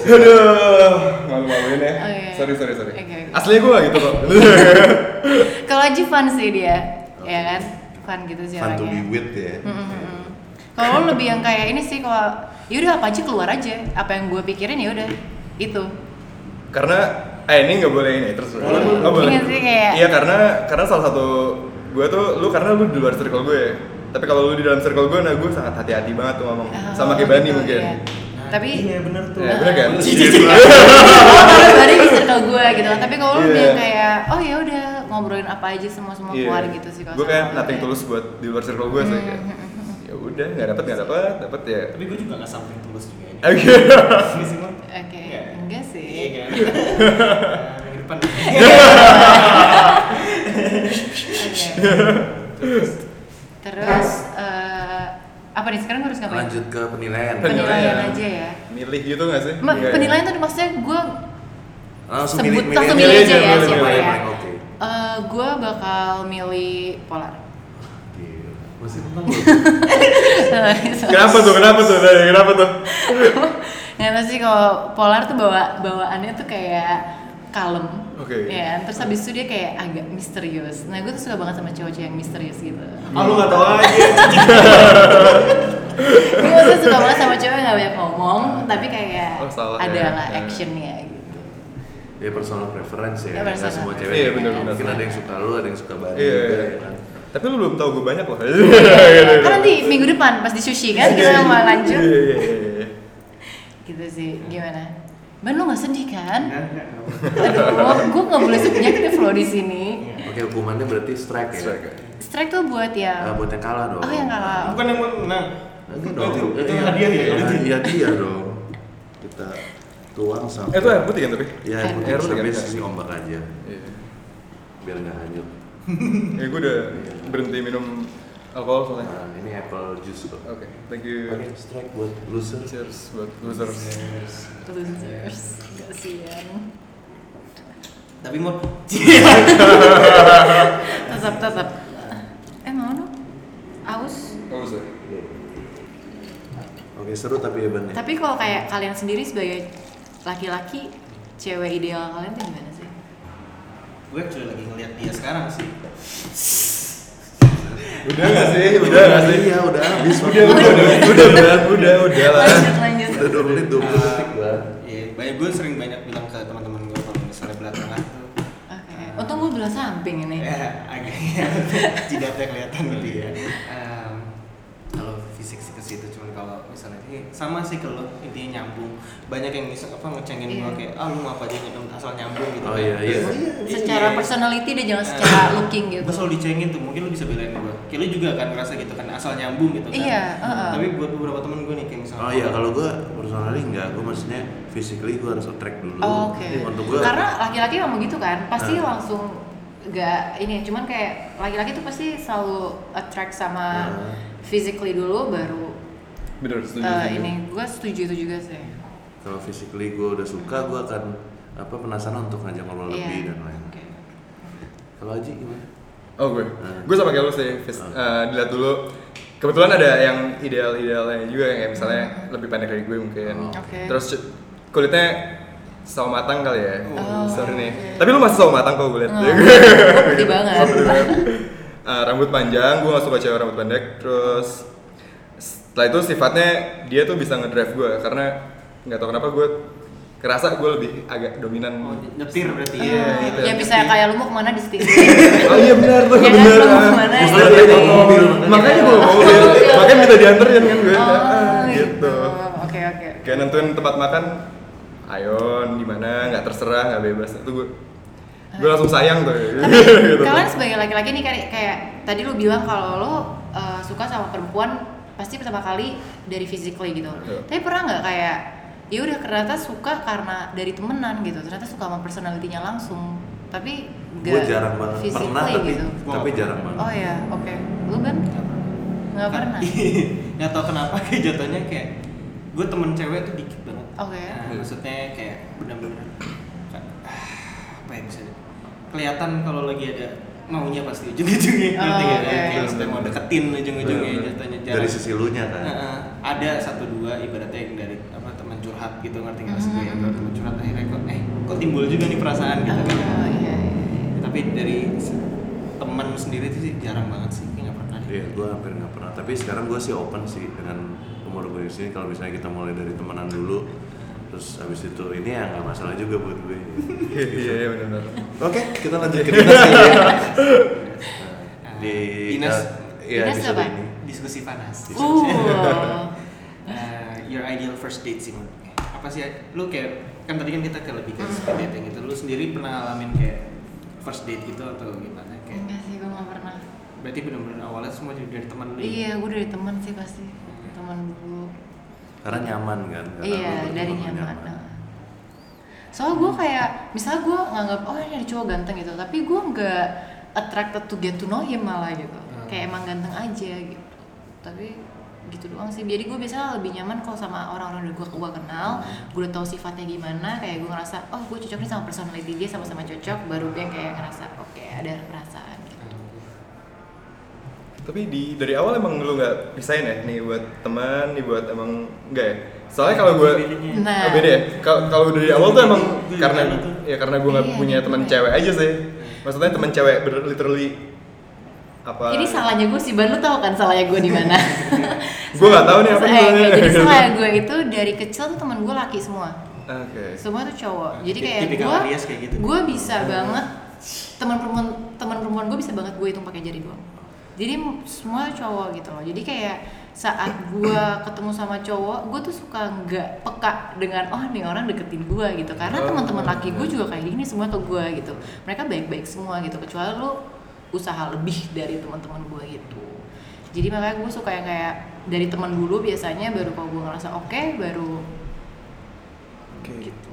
Speaker 4: aduh malu-maluin ya
Speaker 5: Oke.
Speaker 4: sorry sorry sorry
Speaker 5: Oh, iya. Oke, oke.
Speaker 4: aslinya gue gitu kok
Speaker 5: kalau Aji fun sih dia ya kan fun gitu sih
Speaker 1: Fun to be
Speaker 5: orangnya
Speaker 1: with ya.
Speaker 5: Mm, mm, mm. kalau lo lebih yang kayak ini sih kalau yaudah apa aja keluar aja apa yang gue pikirin ya udah itu
Speaker 4: karena eh ini nggak boleh ini terus
Speaker 1: Boleh,
Speaker 4: Oh,
Speaker 5: boleh. Iya sih, kayak-
Speaker 4: iya karena karena salah satu gue tuh lu karena lu di luar circle gue tapi kalau lu di dalam circle gue nah gue sangat hati-hati banget tuh ngomong sama kayak
Speaker 5: Oh,
Speaker 4: Bani
Speaker 5: gitu,
Speaker 4: mungkin
Speaker 5: iya. tapi
Speaker 3: Nah,
Speaker 2: Iya benar tuh.
Speaker 4: Ya, bener kan?
Speaker 5: kalau dari di circle gue gitu kan tapi kalau lo
Speaker 4: Iya.
Speaker 5: lebih yang kayak oh ya udah ngobrolin apa aja semua semua keluar gitu sih kalau
Speaker 4: Gue
Speaker 5: sama
Speaker 4: Iya. kayak
Speaker 5: Mm, gue.
Speaker 4: nothing tulus buat di luar circle gue sih kayak. Ya udah, nggak dapet nggak dapet, dapet ya.
Speaker 3: tapi gue juga nggak sampai tulus juga ini
Speaker 4: Oke.
Speaker 3: Ini semua
Speaker 5: oke
Speaker 3: Iya.
Speaker 5: enggak
Speaker 3: iya
Speaker 5: sih
Speaker 3: kan Ah, minggu depan
Speaker 5: Oke. Terus eh, apa nih sekarang harus ngapain?
Speaker 1: Lanjut ke penilaian.
Speaker 5: Penilaian
Speaker 4: Penilaian.
Speaker 5: aja ya.
Speaker 4: Milih gitu nggak sih?
Speaker 5: Ma-
Speaker 4: Nggak ya?
Speaker 5: penilaian tuh maksudnya gue
Speaker 1: Langsung
Speaker 5: Sebut-
Speaker 1: milih
Speaker 5: langsung
Speaker 4: milih aja ya,
Speaker 1: Milih
Speaker 4: siapa
Speaker 1: yang
Speaker 4: ya.
Speaker 1: paling Oke.
Speaker 5: gue Eh, bakal milih polar.
Speaker 1: Gila. Masih tentang
Speaker 4: Kenapa tuh? Kenapa tuh? Dari kenapa tuh?
Speaker 5: Ya pasti kalau polar tuh bawa bawaannya tuh kayak kalem.
Speaker 4: Oke.
Speaker 5: Ya, kan? terus habis itu dia kayak agak misterius. Nah, gue tuh suka banget sama cowok-cowok yang misterius gitu.
Speaker 2: Ah lu nggak tahu aja.
Speaker 5: Iya. gue maksudnya suka banget sama cowok yang gak banyak ngomong, tapi kayak
Speaker 4: Oh, salah ya.
Speaker 5: ada lah
Speaker 4: Ya.
Speaker 5: actionnya gitu.
Speaker 1: Ya personal preference ya.
Speaker 5: Ya,
Speaker 1: Nggak
Speaker 5: personal
Speaker 1: semua
Speaker 5: preference.
Speaker 1: cewek.
Speaker 4: Iya,
Speaker 1: kayak
Speaker 4: bener,
Speaker 1: gitu.
Speaker 4: bener.
Speaker 1: Mungkin ada yang suka lu, ada yang suka Bani.
Speaker 4: Iya,
Speaker 1: gitu
Speaker 4: iya.
Speaker 1: ya kan.
Speaker 4: Tapi lu belum tahu gue banyak loh.
Speaker 5: Kan nanti minggu depan pas di sushi kan kita mau lanjut.
Speaker 4: Iya, iya, iya, iya.
Speaker 5: Gitu sih, gimana? Ban lu gak sedih kan?
Speaker 2: Enggak, enggak, enggak.
Speaker 5: Aduh, gue gak boleh subjektif loh di sini.
Speaker 3: Iya.
Speaker 1: Oke, hukumannya berarti strike ya.
Speaker 4: Strike ya.
Speaker 5: Strike tuh buat
Speaker 1: Ah,
Speaker 5: yang
Speaker 1: buat yang kalah dong.
Speaker 5: Oh yang kalah.
Speaker 4: Bukan yang
Speaker 3: nah,
Speaker 4: menang.
Speaker 1: Itu dong.
Speaker 4: Itu-
Speaker 2: itu hadiah ya?
Speaker 1: Iya, Iya dia dong. Kita tuang sampai.
Speaker 4: Eh itu air putih kan tapi?
Speaker 1: Ya,
Speaker 5: Air
Speaker 1: itu
Speaker 4: putih.
Speaker 1: sampai
Speaker 4: Air putih.
Speaker 1: sisi ombak aja.
Speaker 4: Iya.
Speaker 1: Biar nggak hanyut.
Speaker 4: Ya gue udah berhenti minum alkohol soalnya.
Speaker 1: Nah, ini apple juice loh.
Speaker 4: Oke, thank you.
Speaker 1: Oke, strike buat loser.
Speaker 4: Cheers buat losers.
Speaker 5: Losers. Kasian.
Speaker 3: Tapi mau
Speaker 5: Tetap tetap. Eh mau dong? Aus.
Speaker 4: Oh, usah.
Speaker 1: Iya. Oke, seru tapi ya Ban ya.
Speaker 5: Tapi kalau kayak kalian sendiri sebagai laki-laki, cewek ideal kalian tuh gimana sih?
Speaker 3: gue actually lagi ngeliat dia sekarang sih.
Speaker 4: Udah gak sih? Udah gak sih?
Speaker 1: Iya, udah habis.
Speaker 4: Udah, udah, udah, udah, Ah. udah, udah, udah lah.
Speaker 5: Lanjut lanjut.
Speaker 1: Udah 2 menit 20 detik, Ban.
Speaker 3: Ya, Nah, banyak gue sering banyak bilang ke teman-teman gue kalau misalnya belah tengah tuh
Speaker 5: Oke. Oh, Untung gue belah samping ini.
Speaker 3: ya agaknya tidak kelihatan gitu ya. Em, kalau fisik sih ke situ cuman kalau misalnya eh, sama sih kalau intinya nyambung banyak yang bisa apa ngecengin gue
Speaker 5: Iya.
Speaker 3: kayak ah lu ngapa aja nyambung asal nyambung gitu
Speaker 1: Oh
Speaker 3: kan.
Speaker 1: iya, iya.
Speaker 3: Oh, iya,
Speaker 5: Secara
Speaker 3: iya.
Speaker 5: personality deh jangan secara looking gitu.
Speaker 3: Gue selalu dicengin tuh, mungkin lu bisa belain gue Kayak lu juga kan ngerasa gitu kan, asal nyambung gitu kan
Speaker 5: Iya, heeh.
Speaker 3: Tapi buat beberapa temen gue nih, kayak misalnya
Speaker 1: Oh iya, kalau gue personally enggak, gue maksudnya physically gue harus attract dulu.
Speaker 5: Oh, Oke.
Speaker 1: Untuk gue
Speaker 5: Karena laki-laki memang gitu kan, pasti
Speaker 1: Nah.
Speaker 5: langsung gak ini cuman kayak laki-laki tuh pasti selalu attract sama
Speaker 1: Nah.
Speaker 5: physically dulu baru
Speaker 4: Bener, setuju.
Speaker 5: eh,
Speaker 4: setuju.
Speaker 5: ini gue setuju itu juga sih.
Speaker 1: kalau physically gue udah suka, gue akan apa penasaran untuk ngajak ngobrol
Speaker 5: Iya.
Speaker 1: lebih dan lain.
Speaker 5: Oke.
Speaker 1: Kalau Aji gimana?
Speaker 4: Oh gue,
Speaker 1: Hmm.
Speaker 4: gue sama kayak lu sih, Fis.
Speaker 1: Hmm.
Speaker 4: Eh, dilihat dulu. Kebetulan ada yang ideal-idealnya juga yang kayak misalnya lebih pendek dari gue mungkin.
Speaker 1: Oh.
Speaker 5: Oke.
Speaker 4: Terus cu- kulitnya sawo matang kali ya.
Speaker 5: Oh,
Speaker 4: Sorry nih.
Speaker 5: oke.
Speaker 4: Tapi lu masih sawo matang kok gue liat.
Speaker 5: Oh, Putih banget.
Speaker 4: Eh, rambut panjang, gue gak suka cewek rambut pendek. Terus setelah itu sifatnya dia tuh bisa ngedrive gue karena nggak tahu kenapa gue kerasa gue lebih agak dominan.
Speaker 3: Oh, nyetir berarti
Speaker 4: Iya, gitu.
Speaker 5: ya bisa kayak lu mau kemana di setir.
Speaker 4: Oh iya benar tuh
Speaker 5: Ya kan,
Speaker 4: benar.
Speaker 5: lu mau kemana? iya,
Speaker 1: Makanya dia bawa mobil.
Speaker 4: Makanya gue mau mobil.
Speaker 5: Oh, iya.
Speaker 4: Makanya minta dianterin kan gue.
Speaker 5: Oh,
Speaker 4: Ah,
Speaker 5: gitu.
Speaker 4: gitu.
Speaker 5: Oke oke.
Speaker 4: Kayak nentuin tempat makan. Ayon di mana nggak terserah nggak bebas itu gue. Gue langsung sayang tuh.
Speaker 5: Tapi
Speaker 4: Gitu.
Speaker 5: kalian sebagai laki-laki nih kayak, kayak tadi lu bilang kalau lo uh, suka sama perempuan pasti pertama kali dari physically gitu.
Speaker 1: Iya.
Speaker 4: Betul.
Speaker 5: Tapi pernah nggak kayak ya udah ternyata suka karena dari temenan gitu. Ternyata suka sama personalitinya langsung. Tapi nggak
Speaker 1: Gue jarang banget.
Speaker 5: physically
Speaker 1: Pernah tapi
Speaker 5: gitu.
Speaker 1: tapi jarang banget.
Speaker 5: Oh ya, oke. Lu kan
Speaker 1: Ah,
Speaker 5: nggak pernah.
Speaker 1: iya.
Speaker 3: Gak tau kenapa kayak jatuhnya kayak Gue temen cewek tuh dikit banget
Speaker 5: Oke.
Speaker 3: Nah, Maksudnya kayak bener-bener ah, Apa ya bisa Kelihatan kalau lagi ada maunya pasti ujung-ujungnya
Speaker 5: Oh,
Speaker 3: ngerti nggak?
Speaker 5: oke.
Speaker 3: Kayak maksudnya mau deketin
Speaker 5: iya.
Speaker 3: ujung-ujungnya ya, jatuhnya
Speaker 1: Dari sisi lu nya kan.
Speaker 3: Heeh, ada satu dua ibaratnya yang dari apa teman curhat gitu ngerti nggak sih gue yang
Speaker 5: Mm-hmm.
Speaker 3: dari teman curhat akhirnya kok eh kok timbul juga nih perasaan gitu kan
Speaker 5: Oh, iya, iya.
Speaker 3: tapi dari se- teman sendiri itu sih jarang banget sih kayak nggak pernah deh
Speaker 1: Iya, gue hampir nggak pernah. Tapi sekarang gue sih open sih dengan umur gue di sini. Kalau misalnya kita mulai dari temenan dulu, terus abis itu ini ya nggak masalah juga buat gue.
Speaker 4: Iya iya iya, benar.
Speaker 1: Oke, kita lanjut ke dinas ya.
Speaker 3: Ah,
Speaker 1: Di eh,
Speaker 3: Dinas
Speaker 1: ya,
Speaker 5: Dinas apa?
Speaker 1: ini.
Speaker 3: diskusi panas
Speaker 4: Iya.
Speaker 5: Uh.
Speaker 3: Eh, your ideal first date sih menurut gue. apa sih lu kayak kan tadi kan kita ke lebih ke
Speaker 5: Hmm.
Speaker 3: speed dating gitu lu sendiri pernah ngalamin kayak first date gitu atau gimana kayak
Speaker 5: Enggak sih, gue nggak pernah.
Speaker 3: berarti benar-benar awalnya semua dari teman lu ya?
Speaker 5: Iya, gue dari teman sih pasti. Teman dulu.
Speaker 1: Karena nyaman kan. Karena lu
Speaker 5: Iya,
Speaker 1: berteman
Speaker 5: dari
Speaker 1: lu
Speaker 5: nyaman. Nah. Soalnya gue kayak, misalnya gue nganggap, oh ini ada cowok ganteng gitu, tapi gue nggak attracted to get to know him malah gitu.
Speaker 4: Hmm.
Speaker 5: Kayak emang ganteng aja gitu. Tapi gitu doang sih. Jadi gue biasanya lebih nyaman kalau sama orang-orang yang gue gue kenal,
Speaker 4: Hmm.
Speaker 5: gue udah tahu sifatnya gimana, kayak gue ngerasa, oh gue cocok nih sama personality dia sama-sama cocok, baru gue yang kayak ngerasa, oke ada perasaan gitu.
Speaker 4: Tapi di dari awal emang lu nggak pisahin ya nih buat teman, nih buat emang nggak ya. Soalnya kalau gue
Speaker 3: Bedanya.
Speaker 5: Nah,
Speaker 4: Oh, beda ya. Kal- Kalau dari awal tuh emang
Speaker 3: Beda
Speaker 4: karena
Speaker 3: banget tuh.
Speaker 4: ya karena gue nggak
Speaker 5: Iya,
Speaker 4: punya
Speaker 5: beda
Speaker 4: teman
Speaker 5: banget.
Speaker 4: cewek aja sih. Maksudnya teman cewek bener literally apa?
Speaker 5: ini salahnya gue sih, Ban lu tau kan salahnya gue di mana?
Speaker 4: Gue nggak tahu nih apa
Speaker 5: Eh,
Speaker 4: salahnya.
Speaker 5: jadi salah gue itu dari kecil tuh teman gue laki semua
Speaker 4: Oke.
Speaker 5: semua tuh cowok jadi
Speaker 3: Tip-
Speaker 5: kayak
Speaker 3: Nah, tipikal
Speaker 5: gue
Speaker 3: Aries kayak gitu.
Speaker 5: gue bisa banget teman perempuan teman perempuan gue bisa banget gue hitung pakai jari doang jadi m- semua cowok gitu loh jadi kayak saat gua ketemu sama cowok gua tuh suka nggak peka dengan oh nih orang deketin gua gitu karena
Speaker 4: Oh,
Speaker 5: teman-teman laki gua
Speaker 4: iya.
Speaker 5: juga kayak gini semua ke gua gitu mereka baik-baik semua gitu kecuali lu usaha lebih dari teman-teman gua gitu jadi makanya gua suka yang kayak dari teman dulu biasanya baru kalau gua ngerasa oke baru
Speaker 4: Oke.
Speaker 5: gitu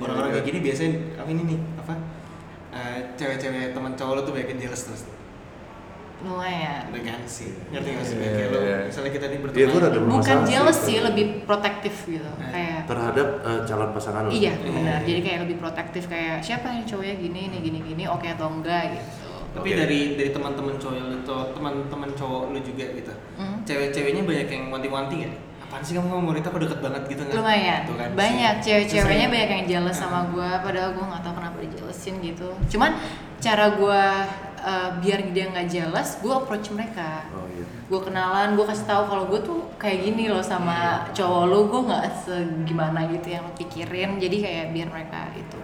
Speaker 2: Orang-orang kayak gini biasanya apa ini nih? Apa?
Speaker 3: Uh,
Speaker 2: Eh, cewek-cewek teman cowok lo tuh banyak yang jealous terus
Speaker 5: lumayan
Speaker 3: kan
Speaker 2: elegansi ngerti nggak sih
Speaker 4: Iya,
Speaker 2: kayak lo
Speaker 4: iya.
Speaker 2: misalnya kita ini
Speaker 1: Iya, gua
Speaker 2: berteman
Speaker 1: rada-
Speaker 5: bukan
Speaker 1: Masalah sih
Speaker 5: jealous
Speaker 1: itu.
Speaker 5: sih lebih protektif gitu
Speaker 2: gitu. Eh,
Speaker 5: kayak
Speaker 1: terhadap eh, calon pasangan lo.
Speaker 2: Iya.
Speaker 5: Iya benar. Jadi kayak lebih protektif kayak siapa yang cowoknya gini nih gini gini oke atau enggak gitu.
Speaker 2: tapi
Speaker 1: Oke.
Speaker 2: dari dari teman-teman cowok lo tuh teman-teman cowok lo juga gitu
Speaker 5: Hmm.
Speaker 2: cewek-ceweknya banyak yang wanti-wanti ya apaan sih kamu sama wanita kok deket banget gitu nggak
Speaker 5: Lumayan.
Speaker 2: Tuh kan, Ah.
Speaker 5: banyak
Speaker 2: sering-
Speaker 5: cewek-ceweknya
Speaker 2: sering.
Speaker 5: banyak yang jealous sama gue. Padahal gue nggak tahu kenapa dia jealousin gitu. Cuman cara gue biar dia nggak jealous, gue approach mereka.
Speaker 1: Oh iya.
Speaker 5: gue kenalan gue kasih tahu kalau gue tuh kayak gini loh sama cowok lo gue nggak segimana gitu yang lo pikirin jadi kayak biar mereka itu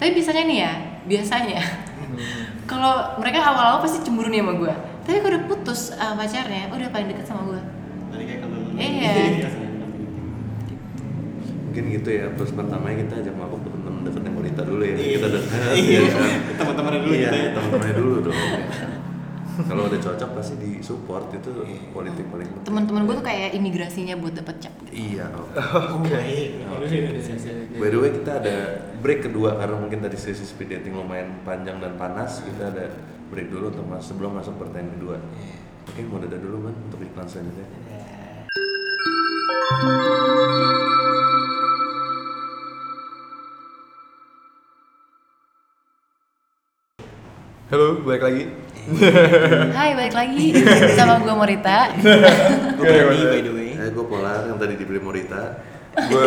Speaker 5: tapi biasanya nih ya biasanya kalau mereka awal-awal pasti cemburu nih sama gue tapi kalau udah putus uh, pacarnya udah paling deket sama gue
Speaker 2: Tadi kayak kalau
Speaker 5: Iya.
Speaker 1: Mungkin gitu ya. Terus pertamanya kita ajak mabuk ke temen deketin wanita dulu ya.
Speaker 2: Iya.
Speaker 1: Kita deket.
Speaker 2: Iya.
Speaker 1: ya kan?
Speaker 2: Teman-temannya dulu
Speaker 1: Iya,
Speaker 2: kita ya.
Speaker 1: teman-temannya dulu dong. Kalau udah cocok pasti di support itu
Speaker 2: Iya.
Speaker 1: politik paling penting.
Speaker 5: teman-teman gue tuh kayak imigrasinya buat dapet cap gitu.
Speaker 1: Iya. oke.
Speaker 2: Oke.
Speaker 1: By the way kita ada break kedua karena mungkin tadi sesi speed dating lumayan panjang dan panas. Kita ada break dulu untuk mas- sebelum masuk pertanyaan kedua.
Speaker 2: Iya.
Speaker 1: Oke, mau dada dulu kan untuk iklan selanjutnya.
Speaker 4: Halo, balik lagi.
Speaker 5: Hai balik lagi sama gue Morita
Speaker 2: Gue berani by the way.
Speaker 1: Eh, gue Polar yang tadi dibeli Morita.
Speaker 4: gue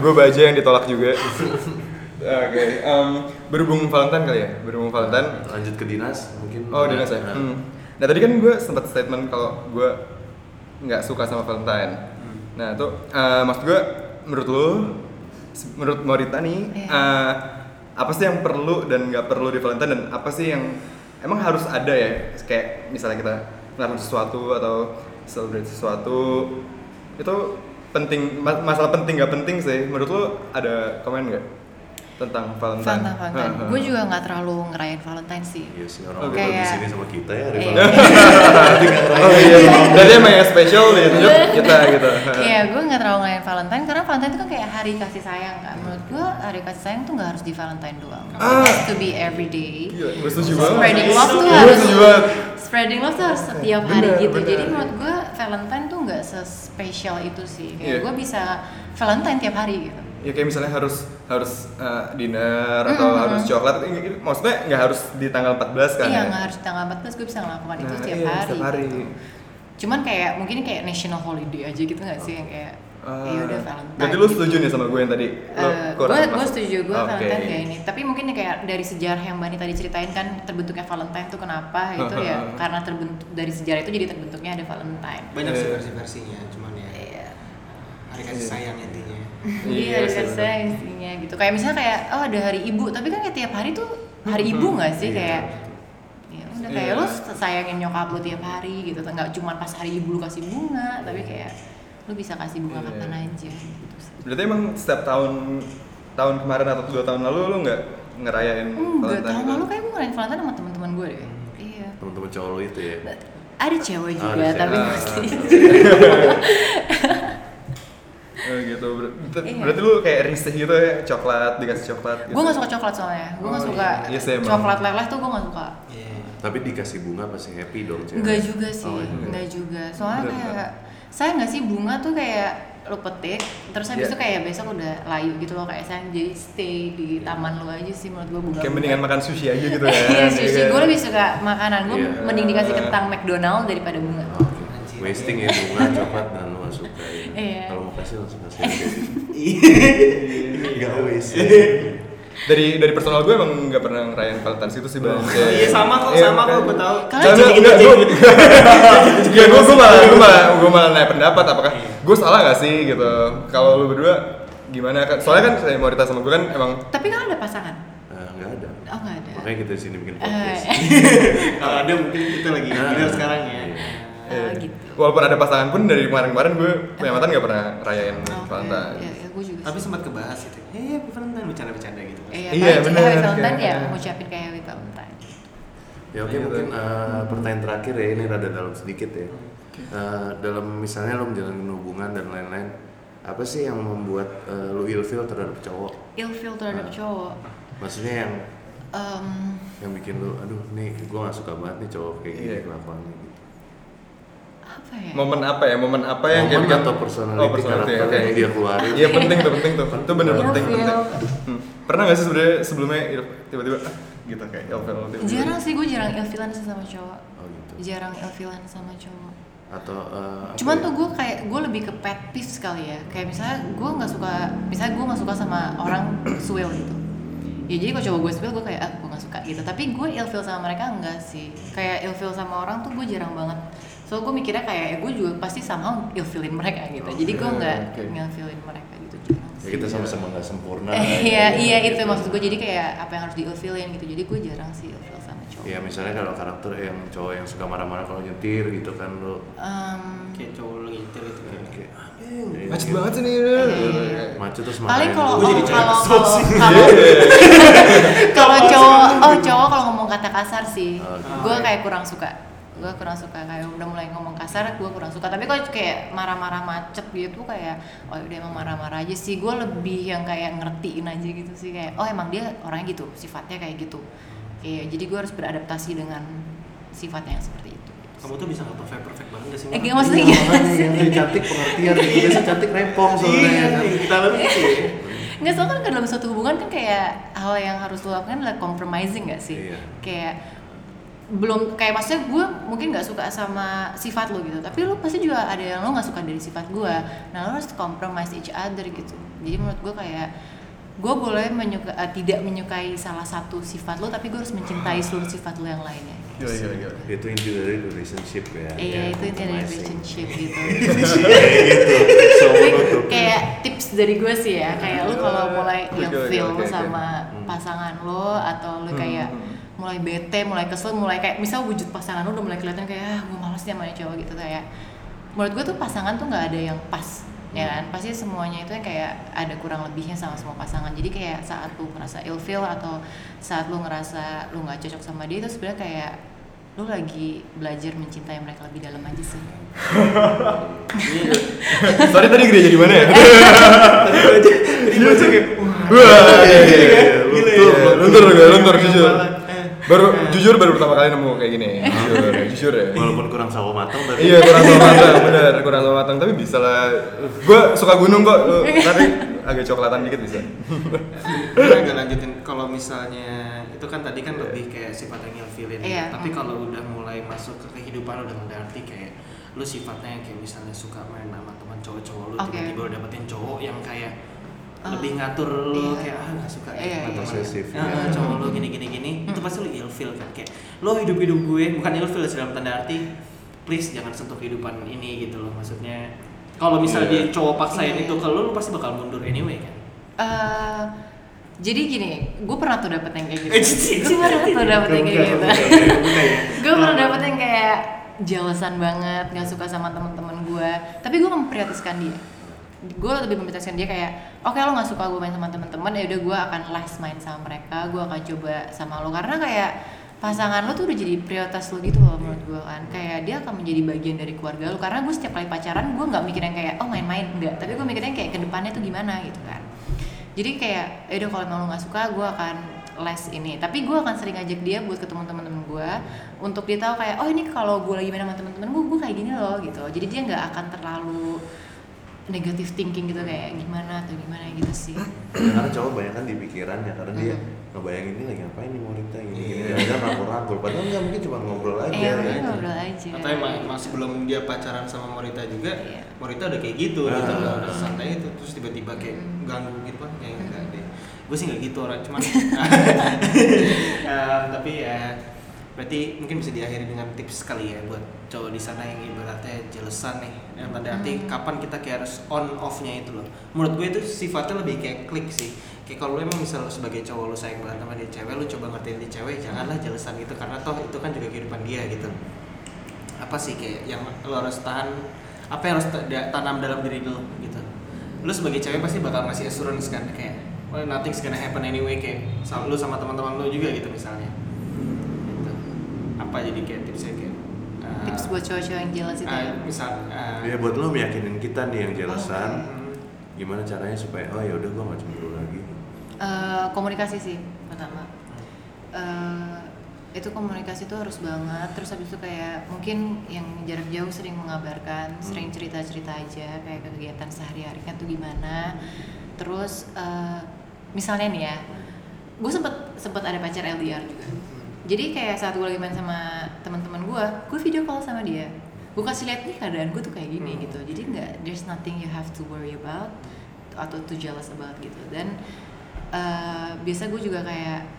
Speaker 4: gue baja yang ditolak juga oke em, berhubung Valentine kali ya berhubung Valentine
Speaker 1: Lanjut ke dinas mungkin.
Speaker 4: oh dinas ya
Speaker 1: Nah,
Speaker 4: Hmm. nah tadi kan gue sempat statement kalau gue nggak suka sama Valentine
Speaker 1: Hmm.
Speaker 4: nah itu eh, maksud gue menurut lo se- menurut Morita nih
Speaker 5: Iya.
Speaker 4: eh, apa sih yang perlu dan nggak perlu di Valentine dan apa sih yang emang harus ada ya kayak misalnya kita melakukan sesuatu atau celebrate sesuatu itu penting ma- masalah penting nggak penting sih menurut lo ada komen nggak tentang Valentine?
Speaker 5: Valentine Valentine
Speaker 4: Ha, ha.
Speaker 5: gue juga nggak terlalu ngerayain Valentine sih
Speaker 1: Iya sih orang
Speaker 5: Oke,
Speaker 1: okay, di
Speaker 5: ya.
Speaker 1: sini sama kita ya. kan
Speaker 5: Iya.
Speaker 1: Rival.
Speaker 4: Oh iya, berarti emang yang spesial ya tunjuk kita gitu.
Speaker 5: Iya, gue nggak terlalu ngelain Valentine karena Valentine itu kan kayak hari kasih sayang kan. Menurut gue hari kasih sayang tuh nggak harus di Valentine doang. It has to be every day.
Speaker 4: Gila, gue setuju Ah. Iya, banget.
Speaker 5: Spreading love tuh
Speaker 4: Gue
Speaker 5: harus
Speaker 4: setuju banget. Eh,
Speaker 5: spreading love tuh harus setiap hari
Speaker 4: Bener,
Speaker 5: gitu.
Speaker 4: bener.
Speaker 5: Jadi menurut gue Valentine tuh nggak sespesial itu
Speaker 4: Iya.
Speaker 5: sih. Kayak gue bisa Valentine tiap hari gitu.
Speaker 4: Ya kayak misalnya harus harus eh, dinner atau
Speaker 5: Mm-mm.
Speaker 4: harus coklat, Ini- ini maksudnya nggak harus di tanggal 14 kan?
Speaker 5: Iya,
Speaker 4: ya?
Speaker 5: nggak harus tanggal 14 gue bisa ngelakukan itu
Speaker 4: Nah,
Speaker 5: tiap
Speaker 4: iya,
Speaker 5: hari.
Speaker 4: Setiap hari.
Speaker 5: gitu. Cuman kayak mungkin kayak national holiday aja gitu nggak sih yang kayak
Speaker 4: Ah,
Speaker 5: ya udah Valentine.
Speaker 4: Berarti lu
Speaker 5: gitu.
Speaker 4: setuju nih sama gue yang tadi? Lu
Speaker 5: gue
Speaker 4: kurang
Speaker 5: gue
Speaker 4: masuk?
Speaker 5: Eh, setuju gue
Speaker 4: Oke.
Speaker 5: Valentine kayak ini tapi mungkin ya kayak dari sejarah yang Bani tadi ceritain kan terbentuknya Valentine tuh kenapa gitu ya karena terbentuk dari sejarah itu jadi terbentuknya ada Valentine
Speaker 2: Banyak sih
Speaker 4: Iya.
Speaker 2: versi-versinya, cuman ya
Speaker 5: Iya.
Speaker 2: hari kasih sayang intinya.
Speaker 5: iya
Speaker 4: sih.
Speaker 5: dari saya isinya gitu kayak misalnya kayak oh ada hari ibu tapi kan kayak tiap hari tuh hari ibu nggak sih kayak ya udah kayak
Speaker 4: Iya.
Speaker 5: lo sayangin nyokap lo tiap hari gitu nggak cuma pas hari ibu lo kasih bunga tapi kayak lo bisa kasih bunga
Speaker 4: Iya.
Speaker 5: kapan aja gitu sih
Speaker 4: Berarti emang setiap tahun tahun kemarin atau dua tahun lalu lu nggak ngerayain
Speaker 5: enggak
Speaker 4: Valentine
Speaker 5: Hmm, tahun
Speaker 4: gitu?
Speaker 5: lalu kayak gue ngerayain Valentine sama teman-teman gue deh iya
Speaker 1: Teman-teman cowok lo itu ya.
Speaker 5: ada cewek
Speaker 1: Ada
Speaker 5: juga
Speaker 1: cewek.
Speaker 5: tapi
Speaker 4: Ah.
Speaker 5: pasti
Speaker 4: Eh, gitu. Ber-
Speaker 5: Iya.
Speaker 4: Berarti lu kayak risih gitu ya, coklat dikasih coklat gitu.
Speaker 5: gue gak suka coklat soalnya gue gak
Speaker 2: Oh,
Speaker 5: suka
Speaker 4: iya. Iya sih, emang.
Speaker 5: coklat leleh tuh gue gak suka
Speaker 2: Iya.
Speaker 1: Tapi dikasih bunga pasti happy dong cewek.
Speaker 5: Enggak juga sih
Speaker 1: Oh, iya.
Speaker 5: enggak juga soalnya
Speaker 4: Bener,
Speaker 5: kayak saya nggak sih bunga tuh kayak lo petik terus habis
Speaker 4: Iya.
Speaker 5: itu kayak besok udah layu gitu loh kayak sayang jadi stay di taman lo aja sih menurut gue bunga
Speaker 4: Iya. Kayak mendingan makan sushi aja gitu ya.
Speaker 5: Iya, sushi
Speaker 4: kan?
Speaker 5: gue lebih suka makanan gue
Speaker 1: Iya.
Speaker 5: mending dikasih kentang McDonald daripada bunga
Speaker 4: Oh.
Speaker 1: Oke. Wasting ya bunga, coklat dan lo nggak suka ya.
Speaker 5: Iya.
Speaker 1: Kalau mau kasih langsung kasih. aja.
Speaker 2: Iya.
Speaker 1: Nggak waste.
Speaker 5: Iya.
Speaker 4: Dari dari personal gue emang nggak pernah ngerayain Valentine's itu sih bang. Kayak-
Speaker 2: Iya sama kok,
Speaker 4: Iya,
Speaker 2: sama kok,
Speaker 4: makanya.
Speaker 2: gue tahu.
Speaker 5: Kalian
Speaker 4: Jangan,
Speaker 5: jadi gitu.
Speaker 4: enggak, gue- Ya gue gue malah gue malah gue malah nanya pendapat apakah
Speaker 2: Iya.
Speaker 4: gue salah gak sih gitu. Kalau lu berdua gimana kan? Soalnya kan saya Morita sama gue kan emang
Speaker 5: tapi kan ada pasangan
Speaker 1: Eh, Eh, nggak ada
Speaker 5: Oh nggak ada.
Speaker 1: makanya kita di sini bikin podcast
Speaker 5: Eh,
Speaker 2: Kalau ada mungkin kita lagi
Speaker 1: Nah.
Speaker 2: dinner sekarang ya.
Speaker 1: Iya.
Speaker 5: Ah,
Speaker 4: Iya.
Speaker 5: gitu.
Speaker 4: Walaupun ada pasangan pun dari kemarin-kemarin gue punya mantan gak pernah rayain
Speaker 5: Oh, Oke,
Speaker 4: Valentine.
Speaker 5: Ya, ya, gue juga.
Speaker 2: Tapi
Speaker 5: sih.
Speaker 2: sempat kebahas gitu.
Speaker 3: Iya,
Speaker 2: Eh, happy Valentine bercanda-bercanda gitu.
Speaker 5: Eh,
Speaker 4: Iya,
Speaker 5: ya, paling
Speaker 4: bener,
Speaker 5: Happy Valentine ya
Speaker 4: kayak-
Speaker 5: ngucapin kayak Happy Valentine.
Speaker 1: ya oke mungkin eh, pertanyaan terakhir ya ini rada dalam sedikit ya Eh, dalam misalnya lo menjalin hubungan dan lain-lain apa sih yang membuat eh, lo ilfeel terhadap cowok
Speaker 5: Ill feel terhadap
Speaker 1: Ah.
Speaker 5: cowok.
Speaker 1: maksudnya yang
Speaker 5: Em,
Speaker 1: yang bikin lo aduh nih gue gak suka banget nih cowok kayak gini
Speaker 4: Iya.
Speaker 1: kelakuannya gitu
Speaker 5: apa ya?
Speaker 4: Momen apa ya? Momen apa yang
Speaker 1: Momen
Speaker 4: bikin-
Speaker 1: atau personality,
Speaker 4: Oh, personality,
Speaker 1: karakter
Speaker 4: oke.
Speaker 1: yang dia keluarin
Speaker 4: Iya penting tuh, penting tuh. Itu bener
Speaker 5: Ill
Speaker 4: penting,
Speaker 5: feel.
Speaker 4: penting. Hmm. Pernah gak sih sebenarnya sebelumnya il- tiba-tiba ah, gitu kayak ilfil tiba-tiba.
Speaker 5: Jarang sih gue jarang ill feelan sih sama cowok.
Speaker 1: oh gitu
Speaker 5: Jarang ill feelan sama cowok.
Speaker 1: atau eh, apa
Speaker 5: Cuman
Speaker 1: ya?
Speaker 5: tuh gue kayak gue lebih ke pet peeves kali ya. Kayak misalnya gue nggak suka, misalnya gue nggak suka sama orang swell gitu. Ya jadi kalau cowok gue swell gue kayak ah gue nggak suka gitu. Tapi gue ill feel sama mereka enggak sih. Kayak ill feel sama orang tuh gue jarang banget. So gue mikirnya kayak ya gue juga pasti sama ill feelin mereka gitu. Jadi gue nggak
Speaker 4: Oke.
Speaker 5: ill feelin mereka gitu. Jarang
Speaker 1: ya
Speaker 5: sih.
Speaker 1: kita sama-sama nggak sempurna ya.
Speaker 5: Eh, iya iya itu maksud gue jadi kayak apa yang harus diilfilin gitu jadi gue jarang sih ilfil sama cowok
Speaker 1: ya misalnya kalau karakter yang cowok yang suka marah-marah kalau nyetir gitu kan lo
Speaker 5: Em,
Speaker 3: kayak cowok lu gitu gitu
Speaker 1: kayak
Speaker 4: Iya, Macet
Speaker 1: gitu.
Speaker 4: banget sih nih.
Speaker 5: Iya,
Speaker 1: macet terus gitu. marahin
Speaker 5: paling kalau
Speaker 1: lo.
Speaker 5: oh,
Speaker 2: jadi cewek
Speaker 5: kalau
Speaker 2: kesel
Speaker 5: kalau
Speaker 2: sih.
Speaker 5: kalau- kalau cowok oh cowok kalau ngomong kata kasar sih
Speaker 1: Oh, gitu.
Speaker 5: gue kayak kurang suka gue kurang suka kayak udah mulai ngomong kasar gue kurang suka tapi kalau kayak marah-marah macet gitu kayak oh udah emang marah-marah aja sih gue lebih yang kayak ngertiin aja gitu sih kayak oh emang dia orangnya gitu sifatnya kayak gitu kayak jadi gue harus beradaptasi dengan sifatnya yang seperti itu
Speaker 3: kamu tuh bisa nggak perfect perfect banget gak sih Iya.
Speaker 5: Eh,
Speaker 3: Mar?
Speaker 5: gak maksudnya gimana
Speaker 1: makanya
Speaker 5: sih?
Speaker 1: yang lebih cantik pengertian gitu biasa cantik repong soalnya
Speaker 2: Iya,
Speaker 1: kan.
Speaker 2: nih, kita lebih gitu ya.
Speaker 5: Nggak, soalnya kan dalam suatu hubungan kan kayak hal yang harus lo lakukan adalah compromising nggak sih?
Speaker 1: Iya.
Speaker 5: Kayak belum kayak maksudnya gue mungkin nggak suka sama sifat lo gitu tapi lo pasti juga ada yang lo nggak suka dari sifat gue nah lo harus compromise each other gitu jadi menurut gue kayak gue boleh menyuka, eh, tidak menyukai salah satu sifat lo tapi gue harus mencintai seluruh sifat lo yang lainnya
Speaker 4: Gila, gila, gila.
Speaker 1: itu inti dari relationship ya Iya.
Speaker 5: Iya, itu inti dari relationship gitu
Speaker 4: iya.
Speaker 1: so
Speaker 5: Tapi kayak tips dari gue sih ya kayak lu kalau mulai
Speaker 4: Iya, Oke,
Speaker 5: yang
Speaker 4: oke,
Speaker 5: feel
Speaker 4: oke, oke.
Speaker 5: sama pasangan lo atau lu
Speaker 4: Hmm,
Speaker 5: kayak
Speaker 4: hmm.
Speaker 5: mulai bete mulai kesel mulai kayak misal wujud pasangan lo udah mulai kelihatan kayak ah gue males nih sama cowok gitu kayak menurut gue tuh pasangan tuh nggak ada yang pas ya
Speaker 4: Hmm.
Speaker 5: kan pasti semuanya itu yang kayak ada kurang lebihnya sama semua pasangan jadi kayak saat lu ngerasa ill feel atau saat lu ngerasa lu nggak cocok sama dia itu sebenarnya kayak lu lagi belajar mencintai mereka lebih dalam aja sih
Speaker 4: Sorry tadi gereja di mana ya?
Speaker 2: Tadi gua aja, tadi gua aja kayak wah.
Speaker 4: Wah, iya, iya, iya.
Speaker 2: Gila ya.
Speaker 4: Luntur, luntur, gue, luntur,
Speaker 3: Iya,
Speaker 2: Kayak
Speaker 5: Iya,
Speaker 4: jujur.
Speaker 2: kepala, eh.
Speaker 4: Baru jujur baru pertama kali nemu kayak gini. Jujur, jujur ya.
Speaker 1: walaupun kurang sawo matang tapi
Speaker 4: Iya kurang sama matang, bener kurang sama matang tapi bisa lah. Gue suka gunung kok, lu tapi agak coklatan dikit bisa.
Speaker 2: Gue agak lanjutin kalau misalnya itu kan tadi kan lebih kayak sifat yang ngilfilin
Speaker 5: Iya.
Speaker 2: tapi kalau udah mulai masuk ke kehidupan udah berarti kayak lu sifatnya yang kayak misalnya suka main sama teman cowok-cowok lu
Speaker 5: Oke.
Speaker 2: tiba-tiba lu dapetin cowok yang kayak
Speaker 5: Ah.
Speaker 2: lebih ngatur lu
Speaker 5: Iya.
Speaker 2: kayak ah nggak suka
Speaker 5: Iya,
Speaker 2: kayak
Speaker 5: iya.
Speaker 1: Posesif,
Speaker 2: ya,
Speaker 1: iya.
Speaker 2: cowok lu gini gini gini itu pasti lu ilfil kan kayak lo hidup hidup gue bukan ilfil sih dalam tanda arti please jangan sentuh kehidupan ini gitu loh maksudnya kalau misalnya
Speaker 4: Iya.
Speaker 2: dia cowok paksain
Speaker 5: Iya, iya.
Speaker 2: itu ke lu, lu pasti bakal mundur anyway kan
Speaker 5: eh jadi gini, gue pernah tuh dapet yang kayak gitu.
Speaker 2: Eh, cici.
Speaker 5: Gue pernah tuh dapet yang kayak gitu. gue pernah dapet yang kayak jelasan banget, nggak suka sama teman-teman gue. Tapi gue memprioritaskan dia. Gue lebih memprioritaskan dia kayak, oke lo nggak suka gue main sama teman-teman, ya udah gue akan less main sama mereka, gue akan coba sama lo karena kayak pasangan lo tuh udah jadi prioritas lo gitu loh menurut gue kan kayak dia akan menjadi bagian dari keluarga lo karena gue setiap kali pacaran gue nggak mikirin kayak oh main-main enggak tapi gue mikirnya kayak kedepannya tuh gimana gitu kan jadi kayak ya udah kalau emang lo nggak suka gue akan les ini tapi gue akan sering ajak dia buat ketemu teman-teman gue untuk dia tahu kayak oh ini kalau gue lagi main sama teman-teman gue gue kayak gini loh gitu jadi dia nggak akan terlalu negative thinking gitu kayak gimana atau gimana gitu sih
Speaker 1: Ya, karena cowok banyak kan di pikirannya karena dia
Speaker 5: Iya.
Speaker 1: ngebayangin ini lagi ngapain nih wanita gini gini jangan rangkul-rangkul padahal nggak mungkin cuma ngobrol aja
Speaker 5: Iya,
Speaker 1: ya.
Speaker 5: mungkin ngobrol aja.
Speaker 2: atau emang emang sebelum dia pacaran sama Morita juga
Speaker 5: Iya.
Speaker 2: Morita udah kayak gitu
Speaker 1: Ah.
Speaker 2: gitu loh udah santai itu terus tiba-tiba kayak
Speaker 5: Hmm.
Speaker 2: ganggu gitu kan kayak enggak deh gue sih nggak gitu orang cuman Em, tapi ya
Speaker 3: Berarti mungkin bisa diakhiri dengan tips kali ya buat cowok di sana yang ibaratnya jelesan nih. Yang tanda arti
Speaker 5: Hmm.
Speaker 3: kapan kita kayak harus on off-nya itu loh. Menurut gue itu sifatnya lebih kayak klik sih. Kayak kalau lu emang misal lu sebagai cowok lu sayang banget sama dia cewek, lu coba ngertiin dia cewek, janganlah jelesan gitu karena toh itu kan juga kehidupan dia gitu. Apa sih kayak yang lu harus tahan apa yang harus ta- da- tanam dalam diri lu gitu. Lu sebagai cewek pasti bakal ngasih assurance kan kayak well, nothing's gonna happen anyway kayak sama- lu sama teman-teman lu juga gitu misalnya gitu. apa jadi kayak tipsnya kayak uh,
Speaker 5: tips buat cowok-cowok yang jelas
Speaker 2: Ah,
Speaker 5: itu
Speaker 3: uh,
Speaker 5: ya
Speaker 3: misal uh,
Speaker 1: Ya buat lo meyakinin kita nih yang jelasan
Speaker 3: hmm,
Speaker 1: gimana caranya supaya oh ya udah gua nggak cemburu lagi.
Speaker 5: Eh, komunikasi sih pertama Eh, itu komunikasi itu harus banget terus habis itu kayak mungkin yang jarak jauh sering mengabarkan sering cerita cerita aja kayak kegiatan sehari harinya tuh gimana terus eh, misalnya nih ya gue sempet sempet ada pacar LDR juga jadi kayak saat gue lagi main sama teman-teman gue gue video call sama dia gue kasih lihat nih keadaan gue tuh kayak gini gitu jadi nggak there's nothing you have to worry about atau to jealous about gitu dan eh, biasa gue juga kayak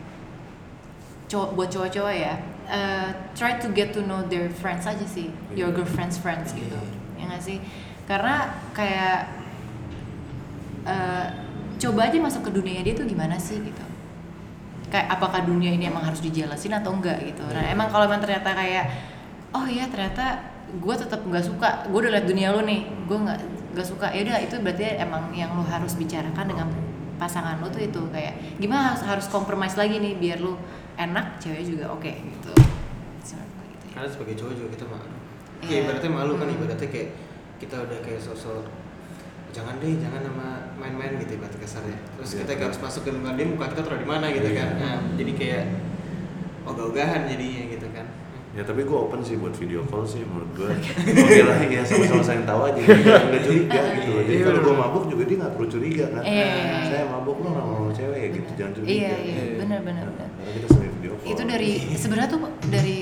Speaker 5: cowok buat cowok-cowok ya eh, try to get to know their friends aja sih your girlfriend's friends gitu ya nggak sih karena kayak eh, coba aja masuk ke dunia dia tuh gimana sih gitu kayak apakah dunia ini emang harus dijelasin atau enggak gitu nah emang kalau emang ternyata kayak oh iya ternyata gue tetap nggak suka gue udah liat dunia lo nih gue nggak nggak suka ya udah itu berarti emang yang lo harus bicarakan dengan pasangan lo tuh itu kayak gimana harus harus kompromis lagi nih biar lo enak cewek juga oke gitu So, gitu ya.
Speaker 3: karena sebagai cowok juga kita malu
Speaker 5: Iya.
Speaker 3: kayak ibaratnya malu kan
Speaker 5: Hmm.
Speaker 3: ibaratnya kayak kita udah kayak sosok jangan deh jangan sama main-main gitu ibarat kasarnya terus
Speaker 1: Iya.
Speaker 3: kita kayak harus masuk ke lingkungan dia muka kita taruh di mana gitu
Speaker 1: Iya.
Speaker 3: kan nah, jadi kayak ogah-ogahan jadinya gitu kan
Speaker 1: Ya tapi gue open sih buat video call sih menurut gue Oke lah ya sama-sama sayang tahu aja Gak gak curiga gitu loh Jadi
Speaker 3: Iya,
Speaker 1: kalau gue
Speaker 3: bener.
Speaker 1: mabuk juga dia gak perlu curiga kan
Speaker 5: Iya, iya, iya.
Speaker 1: Saya mabuk lo gak mau cewek ya gitu
Speaker 5: Benar.
Speaker 1: jangan curiga
Speaker 5: iya iya
Speaker 4: Iya.
Speaker 5: benar benar
Speaker 1: Nah,
Speaker 5: benar
Speaker 1: Karena kita sering video call
Speaker 5: itu dari sebenarnya tuh dari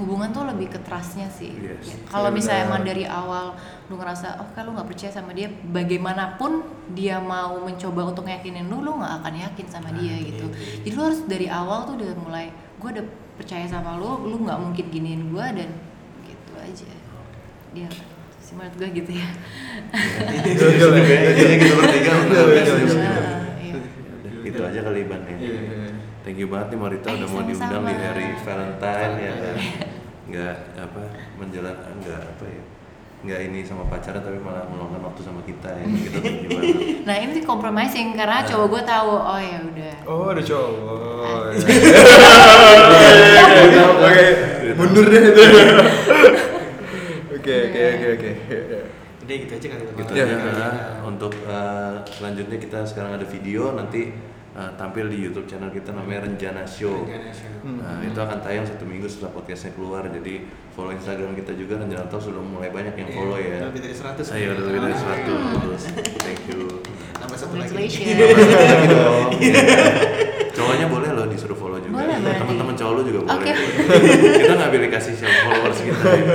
Speaker 5: hubungan tuh lebih ke trustnya sih
Speaker 1: Yes.
Speaker 5: Ya, kalau
Speaker 4: Iya,
Speaker 5: misalnya
Speaker 4: benar.
Speaker 5: emang dari awal lu ngerasa oh kalau lu nggak percaya sama dia bagaimanapun dia mau mencoba untuk yakinin lu lu nggak akan yakin
Speaker 4: Nah,
Speaker 5: sama dia
Speaker 4: iya,
Speaker 5: gitu jadi lu harus dari awal tuh udah mulai gue udah percaya sama lu lu nggak mungkin giniin gue dan gitu aja dia sih menurut gue gitu ya
Speaker 1: Iya, gitu, Kayaknya kita bertiga udah
Speaker 4: Iya,
Speaker 1: best
Speaker 4: iya,
Speaker 1: nih.
Speaker 4: iya.
Speaker 5: Iya.
Speaker 1: Udah, Gitu aja kali Ban ya
Speaker 4: Iya, iya, iya.
Speaker 1: Thank you banget nih Marita
Speaker 5: Eh,
Speaker 1: udah mau
Speaker 5: sama-sama. Iya.
Speaker 1: diundang di hari Valentine ya kan Nggak apa menjalankan nggak apa ya nggak ini sama pacarnya tapi malah meluangkan waktu sama kita ya kita tuh gimana
Speaker 5: nah ini sih compromising karena cowok gue tahu oh ya udah
Speaker 4: Nah. Oh, ada cowok.
Speaker 5: Ah.
Speaker 4: Oke, mundur deh itu. Oke, oke, oke, oke.
Speaker 3: udah gitu aja kali ya.
Speaker 1: gitu
Speaker 4: Iya,
Speaker 1: aja
Speaker 4: iya,
Speaker 1: Kak. untuk eh, selanjutnya kita sekarang ada video nanti eh, tampil di YouTube channel kita namanya Renjana Show.
Speaker 3: ya,
Speaker 5: Hmm.
Speaker 1: Nah, itu akan tayang satu minggu setelah podcastnya keluar. Jadi follow Instagram kita juga Renjana Talk sudah mulai banyak
Speaker 4: Iya,
Speaker 1: yang follow ya.
Speaker 3: lebih dari 100
Speaker 1: Ayo udah
Speaker 3: Oh.
Speaker 1: lebih dari
Speaker 5: Ah.
Speaker 1: 100. Thank you.
Speaker 3: tambah satu lagi
Speaker 5: congratulations
Speaker 1: Thank you dong. Iya. Cowoknya boleh loh disuruh follow juga.
Speaker 5: Boleh, berarti.
Speaker 1: Teman-teman cowok lu juga boleh.
Speaker 5: Oke.
Speaker 1: kita nggak pilih kasih siapa followers kita. Ya.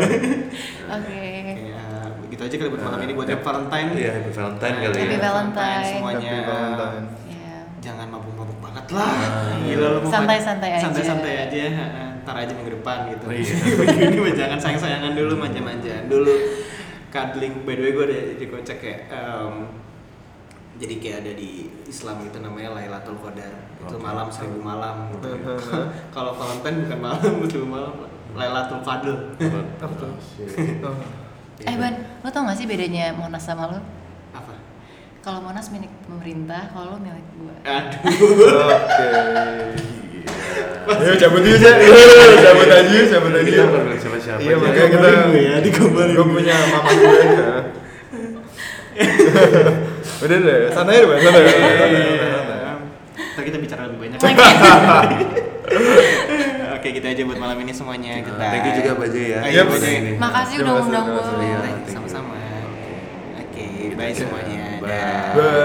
Speaker 5: oke
Speaker 3: Ya, begitu aja kali buat malam ini buat
Speaker 1: Eh,
Speaker 3: Happy Valentine.
Speaker 1: Iya, Happy Valentine kali ya.
Speaker 5: Happy Valentine.
Speaker 3: semuanya.
Speaker 4: Happy Valentine.
Speaker 5: ya
Speaker 3: Jangan mabuk-mabuk banget lah.
Speaker 1: Ah, iya.
Speaker 3: Gila lu mau-
Speaker 5: Santai-santai aja.
Speaker 3: Santai-santai aja. heeh. Ntar aja minggu depan gitu.
Speaker 1: Oh, iya.
Speaker 3: Begini mah jangan sayang-sayangan dulu, manja-manjaan dulu. Cuddling by the way gue ada jadi kocak ya. em, jadi kayak ada di Islam itu namanya Lailatul Qadar. Itu
Speaker 1: Oke.
Speaker 3: malam seribu malam gitu.
Speaker 4: Oke.
Speaker 3: Kalau Valentine bukan malam, seribu malam. Lailatul Qadar.
Speaker 4: Apa tuh?
Speaker 1: Iya.
Speaker 4: Oh.
Speaker 5: Eh Ban, lo tau gak sih bedanya Monas sama lo?
Speaker 3: Apa?
Speaker 5: Kalau Monas milik pemerintah, kalau lo milik gue
Speaker 3: Aduh.
Speaker 4: Oke. Ayo cabut yuk, Cak. Cabut aja, yuk, cabut aja.
Speaker 1: Kita
Speaker 4: yuk.
Speaker 1: bukan milik siapa-siapa.
Speaker 4: Iya,
Speaker 1: Cak.
Speaker 4: makanya kita
Speaker 3: ya, dikabarin
Speaker 4: Gue punya mama gue ya. Udah deh, santai deh, Bang. santai. santai, santai, santai.
Speaker 3: Ntar kita bicara lebih banyak. Oke, gitu aja buat malam ini semuanya. Kita.
Speaker 1: Thank you juga Baje ya.
Speaker 3: Iya,
Speaker 4: Yep.
Speaker 3: Baje.
Speaker 5: Makasih
Speaker 4: Terima kasih, Iya.
Speaker 5: udah undang
Speaker 4: terima kasih.
Speaker 5: gue
Speaker 1: Iya.
Speaker 3: Thank you, Sama-sama. Oke, bye semuanya.
Speaker 1: Bye.
Speaker 3: Dah.
Speaker 4: Bye.